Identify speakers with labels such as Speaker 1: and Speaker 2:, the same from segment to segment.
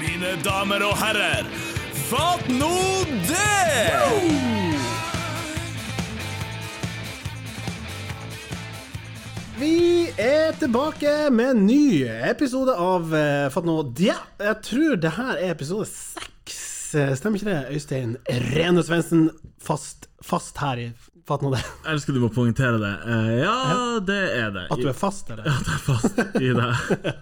Speaker 1: mine damer og herrer. Fatt nå det!
Speaker 2: Vi er tilbake med en ny episode av eh, Fatt nå det. Jeg tror det her er episode seks, eh, stemmer ikke det? Øystein Rene Svendsen, fast, fast her i Fatt nå det.
Speaker 1: Jeg elsker du må poengtere det. Eh, ja, det er det.
Speaker 2: At du er fast, eller?
Speaker 1: At jeg er fast i det.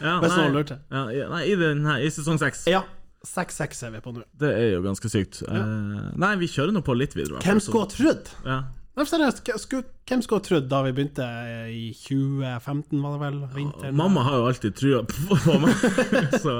Speaker 1: Ja,
Speaker 2: Bare så
Speaker 1: nei.
Speaker 2: du lurte.
Speaker 1: Ja, i- nei, i, den her, i sesong seks.
Speaker 2: Ja. 6-6 er vi på nå.
Speaker 1: Det er jo ganske sykt. Eh, nei, vi kjører nå på litt videre. i hvert fall,
Speaker 2: Hvem
Speaker 1: så-
Speaker 2: skulle ha trodd?
Speaker 1: ja.
Speaker 2: Nei, seriøst, hvem skulle- hvem skulle ha trodd da vi begynte eh, i 2015, var det vel? Vinteren?
Speaker 1: Mamma har jo alltid trua på meg. Så,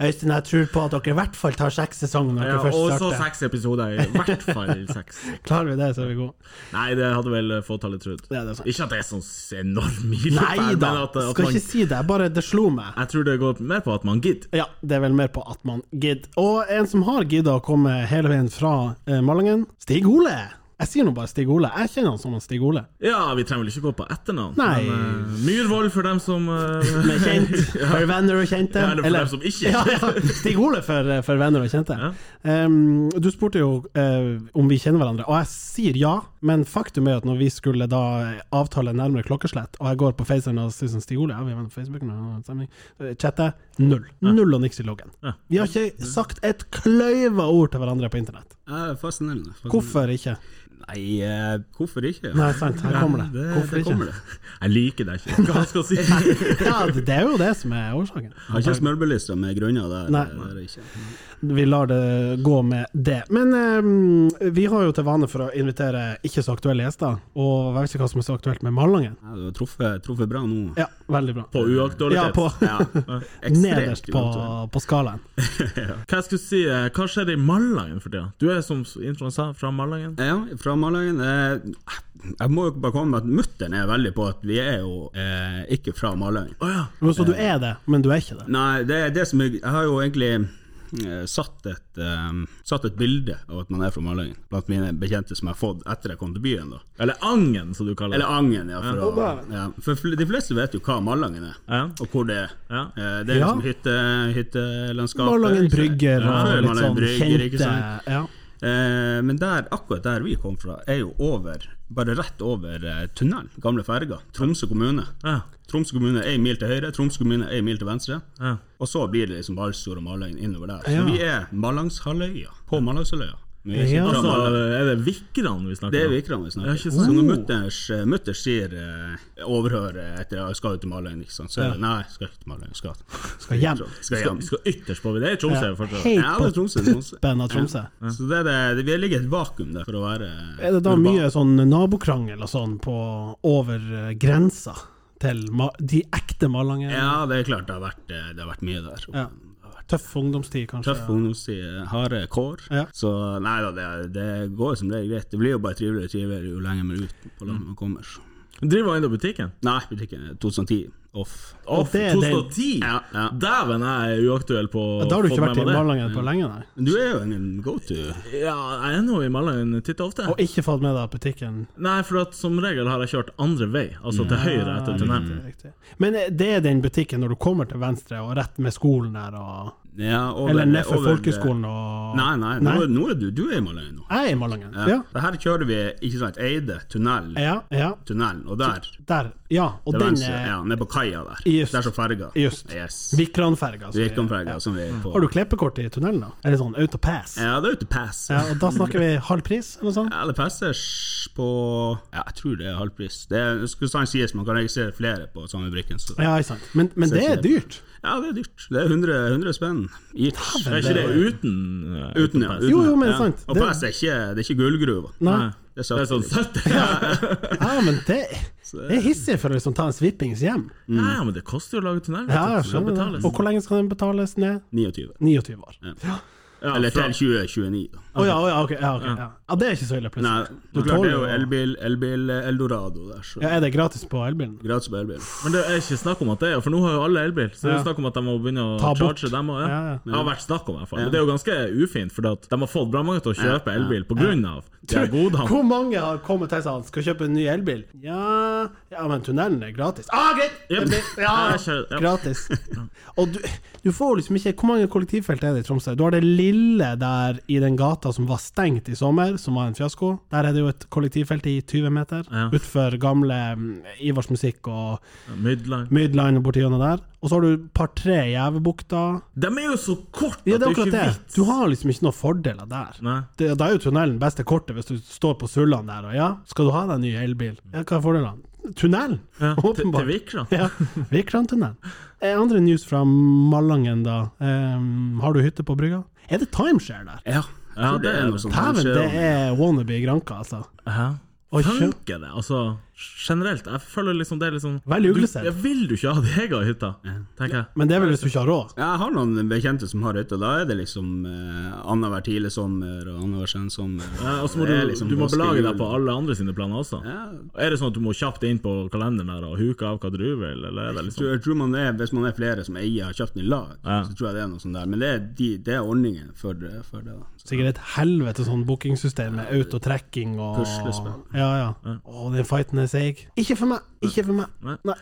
Speaker 2: Øystein, jeg tror på at dere i hvert fall tar seks sesonger når dere
Speaker 1: ja, og
Speaker 2: først
Speaker 1: så
Speaker 2: starter.
Speaker 1: seks episoder. I hvert fall seks.
Speaker 2: Klarer vi det, så er vi gode.
Speaker 1: Nei, det hadde vel fåtallet trodd.
Speaker 2: Ja, det er sant.
Speaker 1: Ikke at det er sånn enorm milepæl,
Speaker 2: Nei da,
Speaker 1: men at, at
Speaker 2: skal
Speaker 1: man,
Speaker 2: ikke si det. Bare det slo meg.
Speaker 1: jeg tror det går mer på at man gidder.
Speaker 2: Ja, det er vel mer på at man gidder. Og en som har gidda å komme hele veien fra eh, Malangen, Stig Ole. Jeg sier nå bare Stig Ole. Jeg kjenner han som han Stig Ole.
Speaker 1: Ja, vi trenger vel ikke gå på etternavn.
Speaker 2: Nei.
Speaker 1: Men, eh, Myrvold for dem som eh,
Speaker 2: Med kjent, for venner og kjente.
Speaker 1: Ja, eller for dem som ikke
Speaker 2: Ja, ja, Stig Ole for, for venner og kjente.
Speaker 1: Ja.
Speaker 2: Um, du spurte jo eh, om vi kjenner hverandre, og jeg sier ja. Men faktum er at når vi skulle da eh, avtale nærmere klokkeslett, og jeg går på Faceren og sier som Stig Ole, ja, vi er venner på Facebook, nå, nå, samling», eh, chatter, null. Null og niks i loggen.
Speaker 1: Ja.
Speaker 2: Vi har ikke sagt et kløyva ord til hverandre på internett.
Speaker 3: Ja, Fascinerende. Fascinerende.
Speaker 2: Hvorfor ikke?
Speaker 3: Nei, eh, hvorfor ikke?
Speaker 2: Nei, sant, her kommer det.
Speaker 3: det,
Speaker 2: Hvorfor
Speaker 3: det
Speaker 2: ikke?
Speaker 3: kommer det.
Speaker 1: Jeg liker deg ikke. Hva skal jeg si?
Speaker 2: Ja, det er jo det som er årsaken.
Speaker 3: Jeg har ikke smørbelysta med grunner der.
Speaker 2: Nei.
Speaker 3: det er det ikke.
Speaker 2: Vi lar det gå med det. Men eh, vi har jo til vane for å invitere ikke så aktuelle gjester, og jeg vet ikke hva som er så aktuelt med Malangen.
Speaker 3: Nei, Du har truffet, truffet bra nå.
Speaker 2: Ja, veldig bra.
Speaker 1: På
Speaker 2: ja,
Speaker 1: uaktualitet.
Speaker 2: på,
Speaker 3: Ja,
Speaker 2: nederst på,
Speaker 3: uaktuelt.
Speaker 2: på skalaen.
Speaker 1: Hva jeg skulle si, eh, hva skjer i Malangen for tida? Du er som introen sa, fra Malangen.
Speaker 3: Ja, fra Malangen. Eh, jeg må jo bare komme med at mutter'n er veldig på at vi er jo eh, ikke fra Malangen.
Speaker 1: Å ja.
Speaker 2: Men Så du er det, men du er ikke det.
Speaker 3: Eh, Nei, det er det som jeg, jeg har jo egentlig eh, satt et, eh, satt et bilde av at man er fra Malangen, blant mine bekjente som jeg har fått etter jeg kom til byen. da
Speaker 1: Eller Angen, som du kaller det.
Speaker 3: Eller Angen, ja. For, å,
Speaker 2: Ja.
Speaker 3: ja. for fl- de fleste vet jo hva Malangen er,
Speaker 1: Ja.
Speaker 3: og hvor det er.
Speaker 1: Ja.
Speaker 3: Eh, Det er
Speaker 2: Ja.
Speaker 3: liksom hytte, hyttelandskapet.
Speaker 2: Malangen
Speaker 3: ikke sant?
Speaker 2: brygger
Speaker 3: Ja,
Speaker 2: og litt
Speaker 3: Malangen
Speaker 2: sånn
Speaker 3: brygger,
Speaker 2: kjente
Speaker 3: ikke sant?
Speaker 2: ja.
Speaker 3: Eh, Men der, akkurat der vi kom fra, er jo over, bare rett over eh, tunnelen, gamle ferga. Tromsø kommune.
Speaker 1: Ja.
Speaker 3: Tromsø kommune er en mil til høyre, Tromsø kommune er en mil til venstre.
Speaker 1: Ja.
Speaker 3: Og så blir det liksom Balsfjord og Malangen innover der. Så
Speaker 2: Ja.
Speaker 3: vi er Mallangshalvøya, på Mallangshalvøya. Vi er
Speaker 2: Ja.
Speaker 3: ikke fra
Speaker 1: Altså,
Speaker 3: Malang.
Speaker 1: er det Vikran vi snakker
Speaker 3: Det er
Speaker 1: om?
Speaker 3: vikerne vi
Speaker 1: Ja,
Speaker 3: snakker
Speaker 1: ikke
Speaker 3: om.
Speaker 1: sant?
Speaker 3: Så når mutters, mutters sier eh, 'overhør eh, etter jeg skal ut til Malangen', ikke sant, så er det 'nei, skal ikke til Malangen, skal,
Speaker 2: Skal hjem.
Speaker 3: skal hjem'.
Speaker 1: Vi skal ytterst på. Det er i Tromsø
Speaker 2: Ja.
Speaker 1: fortsatt.
Speaker 2: Hei.
Speaker 3: Ja, det er Tromsø. Tromsø.
Speaker 2: Ben av Tromsø.
Speaker 3: Ja. Så det er det, det, vi ligger i et vakuum der for å være
Speaker 2: Er det da
Speaker 3: urban.
Speaker 2: mye sånn nabokrangel og sånn på over eh, grensa til ma de ekte Malangen?
Speaker 3: Ja, det er klart det har vært, eh, det har vært mye der.
Speaker 2: Ja.
Speaker 3: Det har vært
Speaker 2: Tøff ungdomstid, kanskje?
Speaker 3: Tøff ungdomstid, harde kår.
Speaker 2: Ja.
Speaker 3: Så nei da, det, det går som det er greit. Det blir jo bare triveligere og triveligere jo lenger man er ute på landet man kommer.
Speaker 1: Driver han inn i butikken?
Speaker 3: Nei, butikken er 2010 off.
Speaker 1: Off
Speaker 2: det er den-
Speaker 1: 2010?
Speaker 3: Ja, ja.
Speaker 1: Dæven, jeg er uaktuell på
Speaker 2: Ja, Da har du ikke
Speaker 1: fått
Speaker 2: vært i
Speaker 1: med meg det.
Speaker 2: Malangen
Speaker 3: Mm.
Speaker 2: på lenge, nei?
Speaker 3: Men du er jo en go to.
Speaker 1: Ja, jeg er nå i Malangen titt og ofte.
Speaker 2: Og ikke fått med deg at butikken
Speaker 1: Nei, for at som regel har jeg kjørt andre vei, altså til høyre etter tunnelen.
Speaker 2: Ah, Riktig, riktig. Men eh, det er den butikken når du kommer til venstre og rett med skolen der og
Speaker 3: Ja, over,
Speaker 2: Eller nedfor
Speaker 3: over-
Speaker 2: folkeskolen og
Speaker 3: Nei, nei, Nå, nå er du, du er i Maløya nå.
Speaker 2: Jeg er i Malangen.
Speaker 3: Ja.
Speaker 2: Ja.
Speaker 3: Det her kjører vi ikke sant, Eide tunnel,
Speaker 2: Ja, ja.
Speaker 3: tunnelen, og der
Speaker 2: Der. Ja, og
Speaker 3: til
Speaker 2: den eh,
Speaker 3: venstre,
Speaker 2: er
Speaker 3: ja, ned på kaia der.
Speaker 2: Just.
Speaker 3: Der som ferga.
Speaker 2: Just.
Speaker 3: Yes.
Speaker 2: Vikranferga. altså.
Speaker 3: Vikramferga som vi er på.
Speaker 2: Har du klippekort i tunnelen, da? Eller sånn autopass? Ja.
Speaker 3: Ja, det er ute pass. Ja.
Speaker 2: og da snakker vi halv pris, eller noe sånt?
Speaker 3: Eller passers på Ja, jeg tror det er halvpris. Det er- skulle sant sies, man kan registrere flere på samme brikken. Så.
Speaker 2: Ja, ikke sant. Men, men det er dyrt.
Speaker 3: Ja, det er dyrt. Det er 100, 100 spenn. Each.
Speaker 1: Er ikke det uten eh,
Speaker 3: Uten, ja. Uten,
Speaker 2: Jo, jo, men
Speaker 3: ja.
Speaker 2: sant.
Speaker 3: Og
Speaker 2: Det-
Speaker 3: pass er ikke, det er ikke gullgruva.
Speaker 2: Nei.
Speaker 1: Nei.
Speaker 3: Det er
Speaker 1: Det er sånn 70 ja.
Speaker 2: Ja, men det det er hissig for å liksom ta en svippings hjem.
Speaker 1: men det koster jo å lage tunnel.
Speaker 2: Ja, jeg
Speaker 1: vet du, så det
Speaker 2: skjønner det.
Speaker 1: betales.
Speaker 2: Og hvor lenge skal den betales ned?
Speaker 3: 29.
Speaker 2: 29 år.
Speaker 1: Ja,
Speaker 3: Eller
Speaker 1: fra-
Speaker 3: til 2029. da.
Speaker 2: Å ja, å ja, ok. Ja, ok, ja. ja, det er ikke så ille,
Speaker 3: Nei,
Speaker 2: plutselig.
Speaker 3: du klarer det er jo
Speaker 2: tåler jo-
Speaker 3: elbil, elbil eh, Eldorado der, så
Speaker 2: Ja, er det gratis på elbilen?
Speaker 3: gratis på elbil.
Speaker 1: Men det er ikke snakk om at det er For nå har jo alle elbil, så det er jo
Speaker 2: Ja.
Speaker 1: snakk om at de må begynne å
Speaker 2: Ta bort.
Speaker 1: charge dem. Og, ja.
Speaker 2: Ja, ja.
Speaker 1: Det har vært snakk om i hvert fall. Men det er jo ganske ufint, for de har fått bra mange til å kjøpe elbil på grunn av De er gode, han.
Speaker 2: Hvor mange har kommet til seg han skal kjøpe en ny elbil? Ja, ja men tunnelen er gratis. Ah, greit!
Speaker 1: Jep.
Speaker 2: Det blir- Ja,
Speaker 1: Jeg kjører- ja.
Speaker 2: gratis. Og du, du får liksom ikke Hvor mange kollektivfelt er det i Tromsø? Du har det lille der i den gata som var stengt i sommer, som var en fiasko. Der er det jo et kollektivfelt i 20 meter,
Speaker 1: Ja.
Speaker 2: utfor gamle mm, Ivars Musikk og
Speaker 1: Midline.
Speaker 2: Midline og borti gjennom der. Og så har du par-tre i Gjævebukta.
Speaker 1: De er jo så korte
Speaker 2: Ja, det
Speaker 1: at
Speaker 2: er
Speaker 1: det er jo
Speaker 2: akkurat
Speaker 1: ikke
Speaker 2: det.
Speaker 1: vits.
Speaker 2: Du har liksom ikke noen fordeler der.
Speaker 1: Nei.
Speaker 2: Det, da er jo tunnelen beste kortet, hvis du står på Sulland der og ja, skal du ha deg en ny elbil? Ja, hva er fordelene? Tunnelen!
Speaker 1: Mm. Ja, til-
Speaker 2: Åpenbart.
Speaker 1: Til Vikra.
Speaker 2: Ja, Vikrantunnelen. Eh, Andre news fra Malangen, da. Em, har du hytte på brygga? Er det timeshare der?
Speaker 3: Ja, jeg tror
Speaker 1: Ja,
Speaker 3: det
Speaker 1: det er
Speaker 3: er noe
Speaker 1: det.
Speaker 3: sånt.
Speaker 2: Dæven,
Speaker 3: Kanskje-
Speaker 2: det er wannabe Granka, altså.
Speaker 1: Hæ?
Speaker 2: Oi, kjø-
Speaker 1: Funker det? Altså, generelt. Jeg føler liksom det er liksom
Speaker 2: Veldig
Speaker 1: du,
Speaker 2: uglesett.
Speaker 1: jeg Vil du ikke ha deg ei hytte, tenker jeg.
Speaker 2: Men det er vel hvis du ikke har råd?
Speaker 3: Ja, Jeg har noen bekjente som har hytte. Da er det liksom eh, annenhver tidlig sommer og annenhver sen sommer.
Speaker 1: Ja, og så må
Speaker 3: Det er
Speaker 1: du,
Speaker 3: liksom
Speaker 1: du må
Speaker 3: påske,
Speaker 1: belage
Speaker 3: jul.
Speaker 1: deg på alle andre sine planer også.
Speaker 3: Ja,
Speaker 1: Er det sånn at du må kjapt inn på kalenderen der og huke av hva du vil, eller er det
Speaker 3: sånn. jeg
Speaker 1: liksom
Speaker 3: tror, jeg tror man er, Hvis man er flere som eier har kjøpt den i lag,
Speaker 1: Ja.
Speaker 3: så tror jeg det er noe sånt der. Men det er, de, det er ordningen for, det- for det. da. Så-
Speaker 2: Sikkert et helvete sånn bookingsystem med autotrekking og
Speaker 3: Puslespill.
Speaker 2: Ja, ja. Å, den fighten er seig. Ikke for meg! Ikke for meg.
Speaker 1: Nei.
Speaker 2: Nei.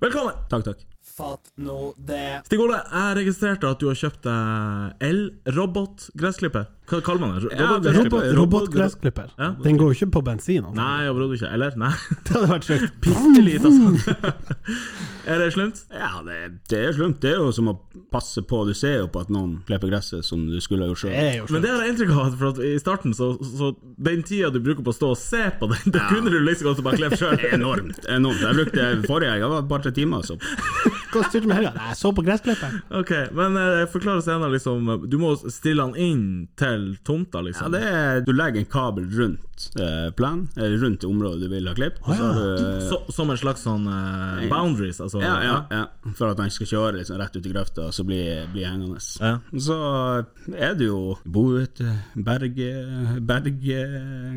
Speaker 1: Velkommen!
Speaker 3: Takk, takk.
Speaker 2: Fatt nå det.
Speaker 1: Stig Ole, jeg registrerte at du har kjøpt deg el-robot-gressklipper. Hva kaller man det?
Speaker 3: Ja, det er
Speaker 1: Robot-gressklipper?
Speaker 2: Robot, Robotgressklipper.
Speaker 1: Ja.
Speaker 2: Den går jo ikke på bensin. Altså.
Speaker 1: Nei, overhodet ikke. Eller? Nei.
Speaker 2: Det hadde vært sjukt.
Speaker 1: Bitte lite, altså. Er det slemt?
Speaker 3: Ja, det, det er slumt. Det er jo som å passe på. Du ser jo på at noen klipper gresset som du skulle ha gjort
Speaker 2: Det
Speaker 3: sjøl.
Speaker 2: er jo
Speaker 1: Men
Speaker 2: sjukt.
Speaker 1: det har jeg inntrykk av, at- for at i starten, så, så den tida du bruker på å stå og se på den, da kunne du liksom godt bare klippe sjøl.
Speaker 3: Enormt. enormt. Jeg brukte forrige helg, det var bare tre timer. altså. Så.
Speaker 2: Hva styrte du med helga? Nei, Jeg så på gressklipperen.
Speaker 1: Ok, men eh, forklar senere, liksom. Du må stille han inn til tomta,
Speaker 3: Ja,
Speaker 1: liksom.
Speaker 3: det er, du legger en kabel rundt eh, planen, eller rundt det området du vil ha klippet. og så
Speaker 2: Å, ja.
Speaker 3: har du, eh,
Speaker 1: Så, som en slags sånn eh, boundaries, altså.
Speaker 3: Ja, ja, ja. For at han ikke skal kjøre liksom, rett ut i grøfta og så bli, bli hengende.
Speaker 1: Ja.
Speaker 3: Så er det jo bo ute, berge, berge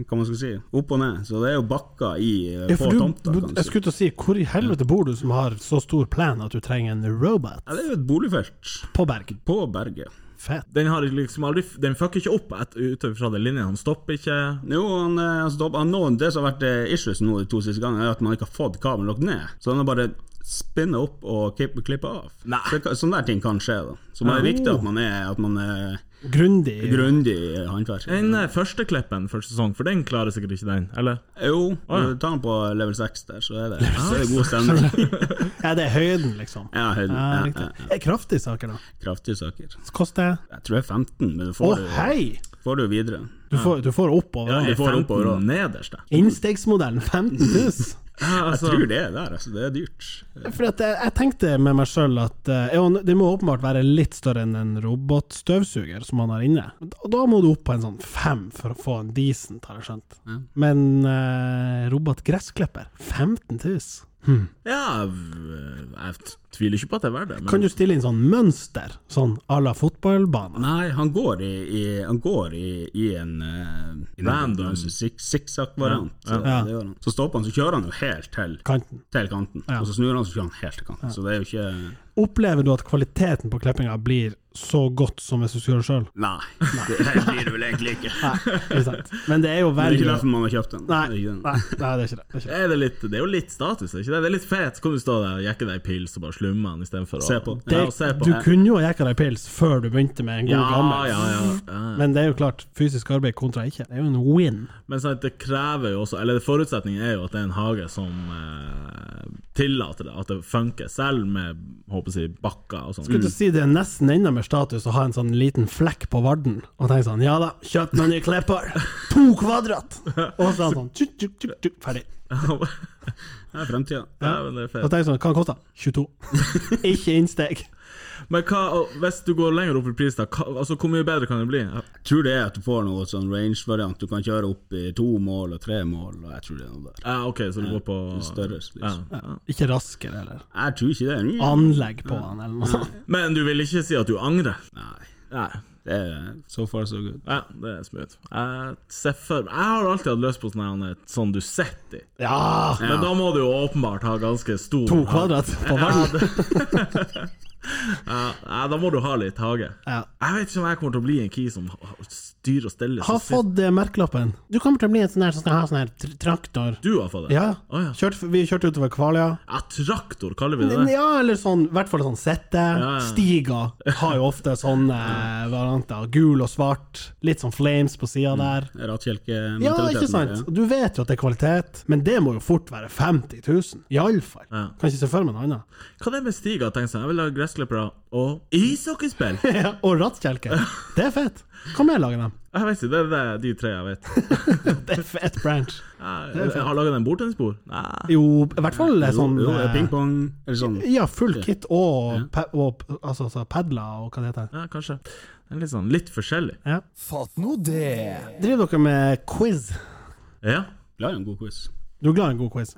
Speaker 3: Hva man skal si. Opp og ned. Så det er jo bakker i,
Speaker 2: Ja,
Speaker 3: på
Speaker 2: for du,
Speaker 3: tomta. kan
Speaker 2: jeg
Speaker 3: du si.
Speaker 2: skulle til å si, hvor i helvete bor du som har så stor plan at du trenger en robot
Speaker 3: Ja, det er jo et boligfelt
Speaker 2: på berg?
Speaker 3: på berget.
Speaker 2: Fett.
Speaker 1: Den har liksom aldri Den fucker ikke opp et- ut fra den linja. Han stopper ikke.
Speaker 3: Jo, han, eh, han stopp- han, nå, Det som har vært eh, issues nå de to siste gangene, er at man ikke har fått kabelen lagt ned. Så den har bare spinnet opp og klipp- klippet av.
Speaker 1: Nei.
Speaker 3: Så, det kan- sånne der ting kan skje. da Så det er
Speaker 1: Oh.
Speaker 3: viktig at man er, at man er
Speaker 2: Grundig.
Speaker 3: grundig i håndverket.
Speaker 1: Den eh, første klippen første sesong, for den klarer sikkert ikke den, eller?
Speaker 3: Jo,
Speaker 1: ja.
Speaker 3: du tar den på level 6 der, så er det, så er det god stemning.
Speaker 2: Ja, det er høyden, liksom.
Speaker 3: Ja, høyden.
Speaker 2: Ja,
Speaker 3: Ja,
Speaker 2: riktig.
Speaker 3: ja,
Speaker 2: Det er kraftige saker, da.
Speaker 3: Kraftige saker.
Speaker 2: Så koster det
Speaker 3: Jeg tror det er 15, men du
Speaker 2: Å,
Speaker 3: får, det
Speaker 2: hei!
Speaker 3: jo- får det jo videre.
Speaker 2: Du får, du får oppover.
Speaker 3: Ja,
Speaker 1: Er
Speaker 3: du får
Speaker 1: 15
Speaker 3: oppover også.
Speaker 1: nederst, da?
Speaker 2: Innstegsmodellen 15 000.
Speaker 1: Ja,
Speaker 3: Jeg
Speaker 1: altså,
Speaker 3: tror det er der, altså. Det er dyrt.
Speaker 2: Fordi at jeg, jeg tenkte med meg sjøl at eh, jo, det må åpenbart være litt større enn en robotstøvsuger som han har inne. Og da må du opp på en sånn fem for å få en decent, har jeg skjønt.
Speaker 3: Ja.
Speaker 2: Men eh, robotgressklipper 15 000.
Speaker 1: ja v- jeg t- tviler ikke på at det er verdt det. Men
Speaker 2: Kan du stille inn sånn mønster, sånn à la fotballbane?
Speaker 3: Nei, han går i, i, han går i, i en uh,
Speaker 1: Random.
Speaker 3: sikksakk-variant.
Speaker 1: Ja,
Speaker 3: Så,
Speaker 2: ja.
Speaker 3: det gjør han. så stopper han, så kjører han jo helt til,
Speaker 2: Kanten.
Speaker 3: til kanten.
Speaker 2: Ja.
Speaker 3: Og så snur han, så kjører han helt til kanten. Så det er jo ikke
Speaker 2: Opplever du at kvaliteten på klippinga blir så godt som hvis du skulle gjøre det sjøl?
Speaker 3: Nei, det blir det vel egentlig ikke. Det
Speaker 2: Ikke sant? Men det er jo
Speaker 3: er
Speaker 2: veldig
Speaker 3: ikke derfor man har kjøpt den.
Speaker 2: Nei,
Speaker 3: Det er
Speaker 2: nei,
Speaker 3: ikke den.
Speaker 2: nei, det er ikke det. det, er ikke det.
Speaker 1: er det, litt, det er jo litt status, er ikke det? Det er litt fet. Så kan du stå der og jekke deg i pils og bare slumme den istedenfor å
Speaker 3: Se på.
Speaker 1: Ja,
Speaker 2: Det,
Speaker 1: og se på.
Speaker 2: du kunne jo ha jekka deg pils før du begynte med en god
Speaker 1: ja,
Speaker 2: gammel.
Speaker 1: ja, ja, ja.
Speaker 2: Men det er jo klart, fysisk arbeid kontra ikke. Det er jo en win.
Speaker 1: Men sant, det krever jo også Eller forutsetningen er jo at det er en hage som eh, tillater det, at det funker, selv med håper jeg, å si, bakker og sånn.
Speaker 2: Skulle til å si det er nesten enda mer status å ha en sånn liten flekk på varden, og tenke sånn ja da, kjøp meg en ny klepper, to kvadrat! Og så er han sånn tjuk, tjuk, tjuk, tjuk, ferdig.
Speaker 3: Det er fremtida.
Speaker 1: ja, men det er
Speaker 2: Og
Speaker 1: fett.
Speaker 2: tenk sånn, hva kosta? 22. ikke innsteg.
Speaker 1: Men hva, og hvis du går lenger opp i pris, da, hva, altså, hvor mye bedre kan det bli? Ja.
Speaker 3: Jeg tror det er at du får noe sånn range-variant. Du kan kjøre opp i to mål og tre mål, og jeg tror det er noe der.
Speaker 1: Ja, OK, så du går på
Speaker 3: Større pris.
Speaker 1: ja. ja.
Speaker 2: Ikke raskere, eller
Speaker 3: Jeg tror ikke det. er mye.
Speaker 2: anlegg på han, eller noe sånt.
Speaker 1: Men du vil ikke si at du angrer?
Speaker 3: Nei,
Speaker 1: Nei.
Speaker 3: det er so far so good.
Speaker 1: Ja, det er smooth. Jeg ser for Jeg har alltid hatt lyst på sånn her, sånn du sitter i.
Speaker 2: Ja!
Speaker 1: Men da må du jo åpenbart ha ganske stor
Speaker 2: To kvadrat på varden.
Speaker 1: Ja, ja, da må du ha litt hage.
Speaker 2: Ja.
Speaker 1: Jeg vet ikke om jeg kommer til å bli en key som styrer og steller.
Speaker 2: Har
Speaker 1: så sinnssykt.
Speaker 2: fått eh, merkelappen. Du kommer til å bli en sånn her som skal ha sånn her tr traktor.
Speaker 1: Du har fått det?
Speaker 2: Ja.
Speaker 1: Å, ja.
Speaker 2: Kjørt, vi kjørte utover Kvaløya.
Speaker 1: ja, traktor, kaller vi det det?
Speaker 2: Ja, eller sånn, i hvert fall sånn sette.
Speaker 1: ja.
Speaker 2: Stiger har jo ofte sånne eh, varianter. Gul og svart. Litt sånn flames på sida der. Ja, ikke sant? Du vet jo at det er kvalitet, men det må jo fort være 50 000. Iallfall.
Speaker 1: Ja.
Speaker 2: Kan ikke se for meg noe annet.
Speaker 1: Hva er det med Stig har tenkt seg? Jeg vil ha gressklippere og ishockeyspill!
Speaker 2: Ja, og rattkjelke. Det er fett. Hva mer lager de?
Speaker 1: Jeg vet ikke, det er det- de tre jeg vet.
Speaker 2: Det er fett branch.
Speaker 1: Jeg, jeg har laget en bordtennisbord? Nei.
Speaker 2: Jo, i hvert fall er sånn
Speaker 3: Jo,
Speaker 2: eh,
Speaker 3: pingpong eller sånn.
Speaker 2: Ja, full kit og, pa og altså, så padler og hva det heter.
Speaker 1: Ja, kanskje. Det er litt sånn litt forskjellig.
Speaker 2: Ja.
Speaker 4: Fatt nå det!
Speaker 2: Driver dere med quiz?
Speaker 1: Ja.
Speaker 3: Glad i en god quiz.
Speaker 2: Du er glad i en god quiz?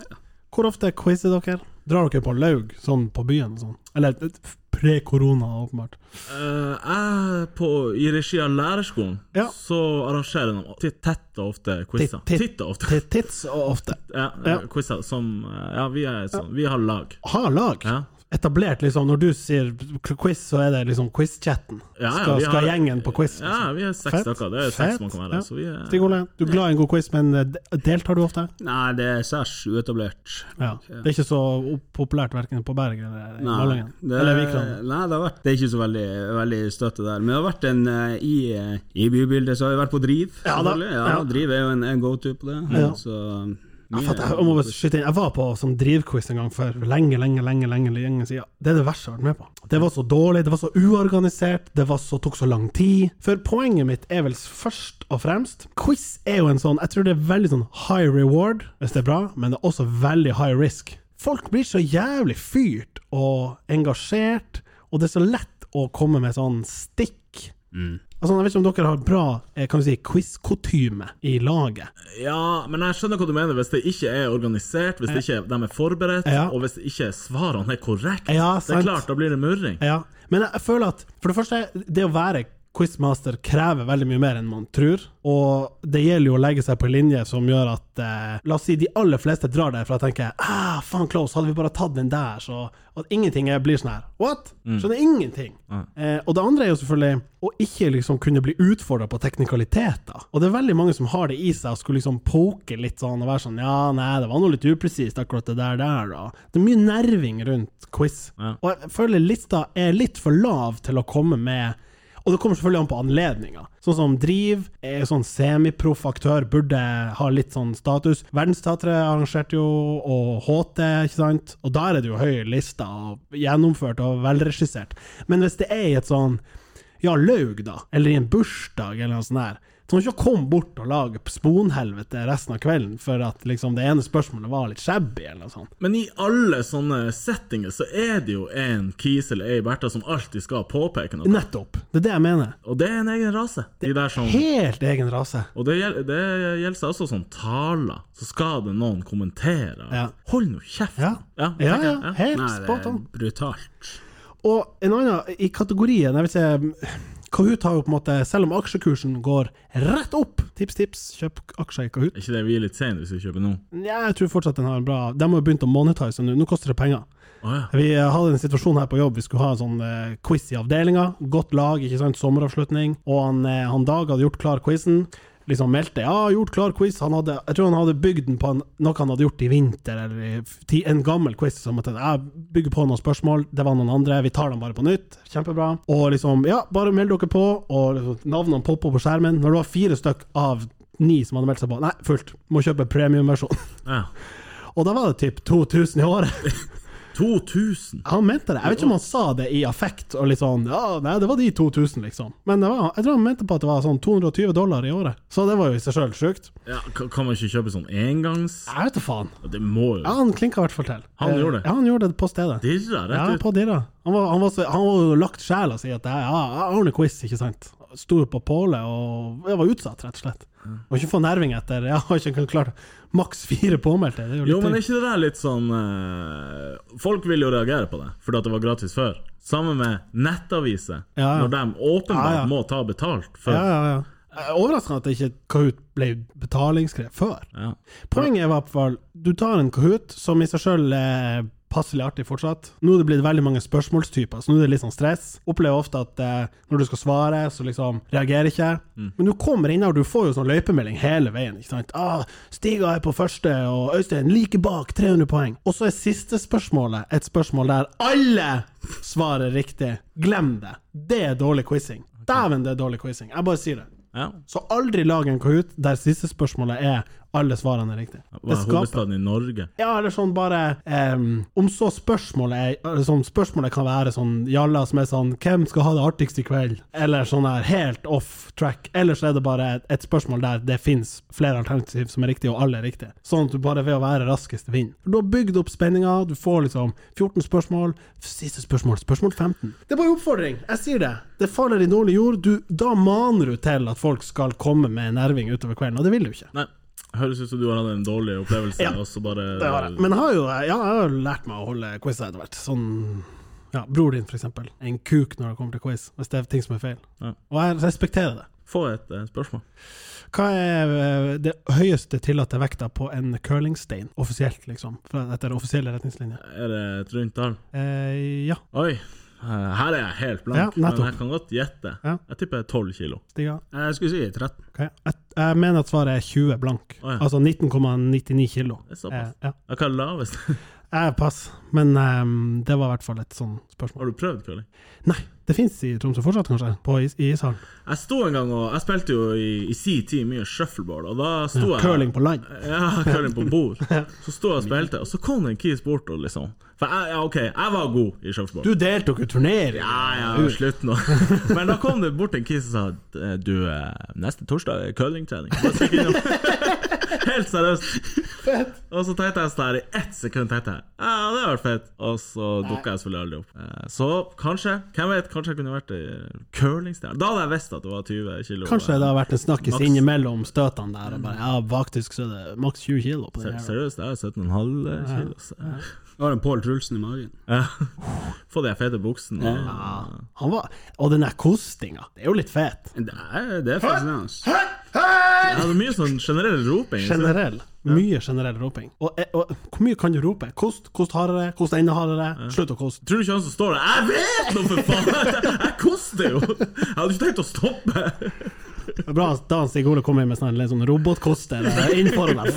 Speaker 2: Hvor ofte quizer dere? Drar dere på laug, sånn på byen? og Sånn? Eller eh, pre-korona, åpenbart.
Speaker 1: Eh, jeg, på, i regi av lærerskolen,
Speaker 2: Ja.
Speaker 1: så arrangerer de titt- tett og ofte quizer.
Speaker 2: Titt- titt-
Speaker 1: Titt og ofte.
Speaker 2: Til tids og ofte.
Speaker 1: Ja,
Speaker 2: Ja.
Speaker 1: quizer som eh, Ja, vi er sånn. Vi har lag.
Speaker 2: Har lag.
Speaker 1: Ja.
Speaker 2: Etablert, liksom. Når du sier quiz, så er det liksom quiz-chatten.
Speaker 1: Ja, ja,
Speaker 2: skal,
Speaker 1: vi
Speaker 2: skal
Speaker 1: har-
Speaker 2: gjengen på quiz? liksom.
Speaker 1: Ja, vi er seks
Speaker 2: Fett.
Speaker 1: stykker. Det er seks
Speaker 2: Fett.
Speaker 1: man kan være.
Speaker 2: Ja.
Speaker 1: Så vi er,
Speaker 2: Stig Ole, du er glad i en god quiz, men eh, de- deltar du ofte?
Speaker 3: Nei, det er særs uetablert.
Speaker 2: Ja. Det er ikke så populært verken på Berg eller i
Speaker 3: Nei,
Speaker 2: Ballangen.
Speaker 3: det,
Speaker 2: Eller Vikland.
Speaker 3: nei, det har vært Det er ikke så veldig, veldig støtte der. Men det har vært en eh, i, eh, i bybildet så har vi vært på Driv.
Speaker 2: Ja da,
Speaker 3: selvfølgelig. Ja,
Speaker 2: ja.
Speaker 3: Driv er jo en, en go-to på det.
Speaker 2: Ja.
Speaker 3: Så,
Speaker 2: Ja,
Speaker 3: mye-
Speaker 2: for at jeg, jeg, må bare skyte inn. jeg var på som drivquiz en gang for lenge, lenge, lenge lenge, lenge siden. Det er det verste jeg har vært med på. Det var så dårlig, det var så uorganisert, det var så, tok så lang tid. For poenget mitt er vel først og fremst Quiz er jo en sånn Jeg tror det er veldig sånn high reward, hvis det er bra, men det er også veldig high risk. Folk blir så jævlig fyrt og engasjert, og det er så lett å komme med sånn stikk. Altså, jeg vet ikke om dere har bra eh, kan du si, quiz-kutyme i laget.
Speaker 1: Ja, men jeg skjønner hva du mener. Hvis det ikke er organisert, hvis det ikke er, de er forberedt,
Speaker 2: Ja.
Speaker 1: og hvis ikke svarene er korrekte,
Speaker 2: Ja,
Speaker 1: det
Speaker 2: sant.
Speaker 1: er klart, da blir det murring.
Speaker 2: Ja, men jeg føler at For det første, det å være quizmaster krever veldig mye mer enn man tror. Og det gjelder jo å legge seg på en linje som gjør at eh, La oss si de aller fleste drar derfra og tenker ah, faen close, hadde vi bare tatt den der, så At ingenting er, blir sånn her. What? Skjønner ingenting. Eh, og det andre er jo selvfølgelig å ikke liksom kunne bli utfordra på teknikaliteter. Og det er veldig mange som har det i seg og skulle liksom poke litt sånn og være sånn ja, nei, det var noe litt upresist akkurat det der der, da. Det er mye nerving rundt quiz. Og jeg føler lista er litt for lav til å komme med og det kommer selvfølgelig an på anledninga. Sånn som Driv, er sånn semiproff aktør, burde ha litt sånn status. Verdensteatret arrangerte jo, og HT, ikke sant. Og der er det jo høy liste, og gjennomført og velregissert. Men hvis det er i et sånn, ja, laug, da, eller i en bursdag, eller noe sånt der, så må du ikke komme bort og lage sponhelvete resten av kvelden for at liksom det ene spørsmålet var litt shabby, eller noe sånt.
Speaker 1: Men i alle sånne settinger så er det jo en kis eller ei Bertha som alltid skal påpeke noe.
Speaker 2: Nettopp. Det er det jeg mener.
Speaker 1: Og det er en egen rase. De der som,
Speaker 2: Helt egen rase.
Speaker 1: og det gjelder, det gjelder seg også sånn taler. Så skal det noen kommentere.
Speaker 2: Ja.
Speaker 1: Hold nå kjeft!
Speaker 2: Ja.
Speaker 1: Ja,
Speaker 2: Ja,
Speaker 1: tenker
Speaker 2: ja.
Speaker 1: jeg, ja.
Speaker 2: Helt
Speaker 3: Nei, det
Speaker 2: spot
Speaker 3: er
Speaker 2: on.
Speaker 3: brutalt.
Speaker 2: Og en annen i kategorien jeg vil si, Kahoot har jo på en måte, selv om aksjekursen går rett opp Tips, tips, kjøp aksjer i Kahoot.
Speaker 1: Er ikke det vi er litt sene hvis vi kjøper nå?
Speaker 2: Ja, jeg tror fortsatt den har en bra De har jo begynt å monetise nå. Nå koster det penger.
Speaker 1: Å ja.
Speaker 2: Vi eh, hadde en situasjon her på jobb. Vi skulle ha en sånn eh, quiz i avdelinga. Godt lag, ikke sant. Sommeravslutning. Og han, eh, han Dag hadde gjort klar quizen. Liksom meldte ja, gjort klar quiz. Han hadde, jeg tror han hadde bygd den på en, noe han hadde gjort i vinter, eller i, f- ti- en gammel quiz. Som at eh, jeg bygger på noen spørsmål, det var noen andre, vi tar dem bare på nytt. Kjempebra. Og liksom, ja, bare meld dere på, og liksom, navnene popper opp på skjermen. Når det var fire stykk av ni som hadde meldt seg på, nei, fullt, må kjøpe premiumversjon.
Speaker 1: ja.
Speaker 2: Og da var det typ 2000 i året.
Speaker 1: 2000!
Speaker 2: Han mente det. Jeg vet ikke om han sa det i affekt og litt sånn Ja, nei, det var de 2000, liksom. Men det var, jeg tror han mente på at det var sånn 220 dollar i året. Så det var jo i seg sjøl sjukt.
Speaker 1: Ja, kan kan man ikke kjøpe sånn engangs...?
Speaker 2: Jeg vet da faen.
Speaker 1: Det må jo
Speaker 2: Ja, han klinka i hvert fall til.
Speaker 1: Han
Speaker 2: Eh,
Speaker 1: gjorde det?
Speaker 2: Ja, han gjorde det på stedet. Ja,
Speaker 1: dirre rett ut.
Speaker 2: på Dirra. Han var, han var, så, han var jo lagt sjela si at jeg, ja, jeg ordner quiz, ikke sant. Sto på pålet og jeg var utsatt, rett og slett. Og ikke få nerving etter Jeg har ikke klart maks fire påmeldte. Det er jo litt
Speaker 1: Jo, men er
Speaker 2: trist.
Speaker 1: ikke det der litt sånn eh, Folk vil jo reagere på det, fordi at det var gratis før. Sammen med nettaviser,
Speaker 2: Ja, ja.
Speaker 1: når de åpenbart
Speaker 2: Ja, ja.
Speaker 1: må ta betalt før.
Speaker 2: Ja, ja, ja. Jeg er Overraskende at det ikke Kahoot ble betalingsskrevet før.
Speaker 1: Ja.
Speaker 2: Poenget er i hvert fall du tar en Kahoot som i seg sjøl eh, passelig artig fortsatt. Nå er det blitt veldig mange spørsmålstyper, så nå er det litt sånn stress. Opplever ofte at eh, når du skal svare, så liksom reagerer ikke. Men du kommer inn og du får jo sånn løypemelding hele veien. ikke sant? Ah, Stiga er på første, og Øystein like bak, 300 poeng. Og så er siste spørsmålet et spørsmål der alle svarer riktig. Glem det. Det er dårlig quizing. Dæven, det er dårlig quizing. Jeg bare sier det.
Speaker 1: Ja.
Speaker 2: Så aldri lag en Kahoot der siste spørsmålet er alle svarene er riktig.
Speaker 1: Hva
Speaker 2: Det
Speaker 1: er
Speaker 2: skaper
Speaker 1: hovedstaden i Norge?
Speaker 2: ja, eller sånn bare ehm, Om så spørsmålet er eller sånn Spørsmålet kan være sånn jalla som er sånn Hvem skal ha det artigst i kveld? Eller sånn her helt off track. Ellers er det bare et, et spørsmål der det fins flere alternativ som er riktige, og alle er riktige. Sånn at du bare ved å være raskest vinner. Du har bygd opp spenninga, du får liksom 14 spørsmål. Siste spørsmål, spørsmål 15. Det er bare en oppfordring, jeg sier det. Det faller i dårlig jord. Du, da maner du til at folk skal komme med nerving utover kvelden, og det vil du ikke.
Speaker 1: Nei, høres ut som du har hatt en dårlig opplevelse,
Speaker 2: Ja,
Speaker 1: og så bare
Speaker 2: Det har jeg. Men jeg har jo, ja, jeg har jo lært meg å holde quiz etter hvert. Sånn ja, Bror din, for eksempel. En kuk når det kommer til quiz, hvis det er ting som er feil.
Speaker 1: Ja.
Speaker 2: Og jeg respekterer det.
Speaker 1: Få et eh, spørsmål.
Speaker 2: Hva er eh, det høyeste tillatte vekta på en curlingstein, offisielt, liksom? Fra- Etter offisielle retningslinjer.
Speaker 1: Er det et rundt tall?
Speaker 2: Eh, ja.
Speaker 1: Oi, eh, her er jeg helt blank,
Speaker 2: Ja, nettopp.
Speaker 1: men jeg kan godt gjette.
Speaker 2: Ja.
Speaker 1: Jeg tipper 12 kilo.
Speaker 2: Stiga?
Speaker 3: Jeg skulle si 13.
Speaker 2: Ok. Jeg, jeg mener at svaret er 20 blank.
Speaker 1: Å, ja.
Speaker 2: Altså 19,99 kilo.
Speaker 1: Det er såpass.
Speaker 2: Eh, ja.
Speaker 1: Ja. Hva er lavest?
Speaker 2: Jeg pass, men eh, det var i hvert fall et sånn spørsmål.
Speaker 1: Har du prøvd curling?
Speaker 2: Nei, det fins i Tromsø fortsatt, kanskje? På is i ishallen?
Speaker 1: Jeg sto en gang og Jeg spilte jo i, i si tid mye shuffleboard, og da sto jeg
Speaker 2: Curling på land?
Speaker 1: Ja, curling på bord. Så sto jeg og spilte, og så kom det en kis bort og liksom For jeg, ja, OK, jeg var god i shuffleboard.
Speaker 2: Du deltok i turnering!
Speaker 1: Ja, ja, slutt nå. Men da kom det bort en kis og sa at du, eh, neste torsdag er curlingtrening. Bare stikk innom. Helt seriøst. Og så tenkte jeg sånn her, i ett sekund tenkte jeg ja, det hadde vært fett. Og så dukka jeg selvfølgelig aldri opp. Eh, Så kanskje, hvem vet, kanskje jeg kunne vært eh, curlingstjerne. Da hadde jeg visst at det var 20 kilo.
Speaker 2: Kanskje det har vært en snakkis
Speaker 1: Maks-
Speaker 2: innimellom støtene der. Og bare, ja, faktisk så er det maks 20 kilo på den
Speaker 1: Ser-
Speaker 2: her.
Speaker 1: Eh, Seriøst, jeg er 17,5 kilo. så-
Speaker 3: Du har en Pål Trulsen i magen.
Speaker 1: Ja. Få de fete buksene. og-
Speaker 2: Han var, og den der kostinga, det er jo litt fet.
Speaker 3: Det er, det er fascinerende.
Speaker 1: Jeg hadde mye sånn generell roping. så-
Speaker 2: Generell. Mye generell roping. Og, eh, og hvor mye kan du rope? Kost, kost hardere, kost enda hardere. Slutt å koste.
Speaker 1: Tror du ikke han som står der Jeg vet nå, for faen! Jeg, jeg koster jo! Jeg hadde ikke tenkt å stoppe.
Speaker 2: Det er Bra at da Stig Ole kom inn med sånn, en sånn robotkoster eh, inn foran deg.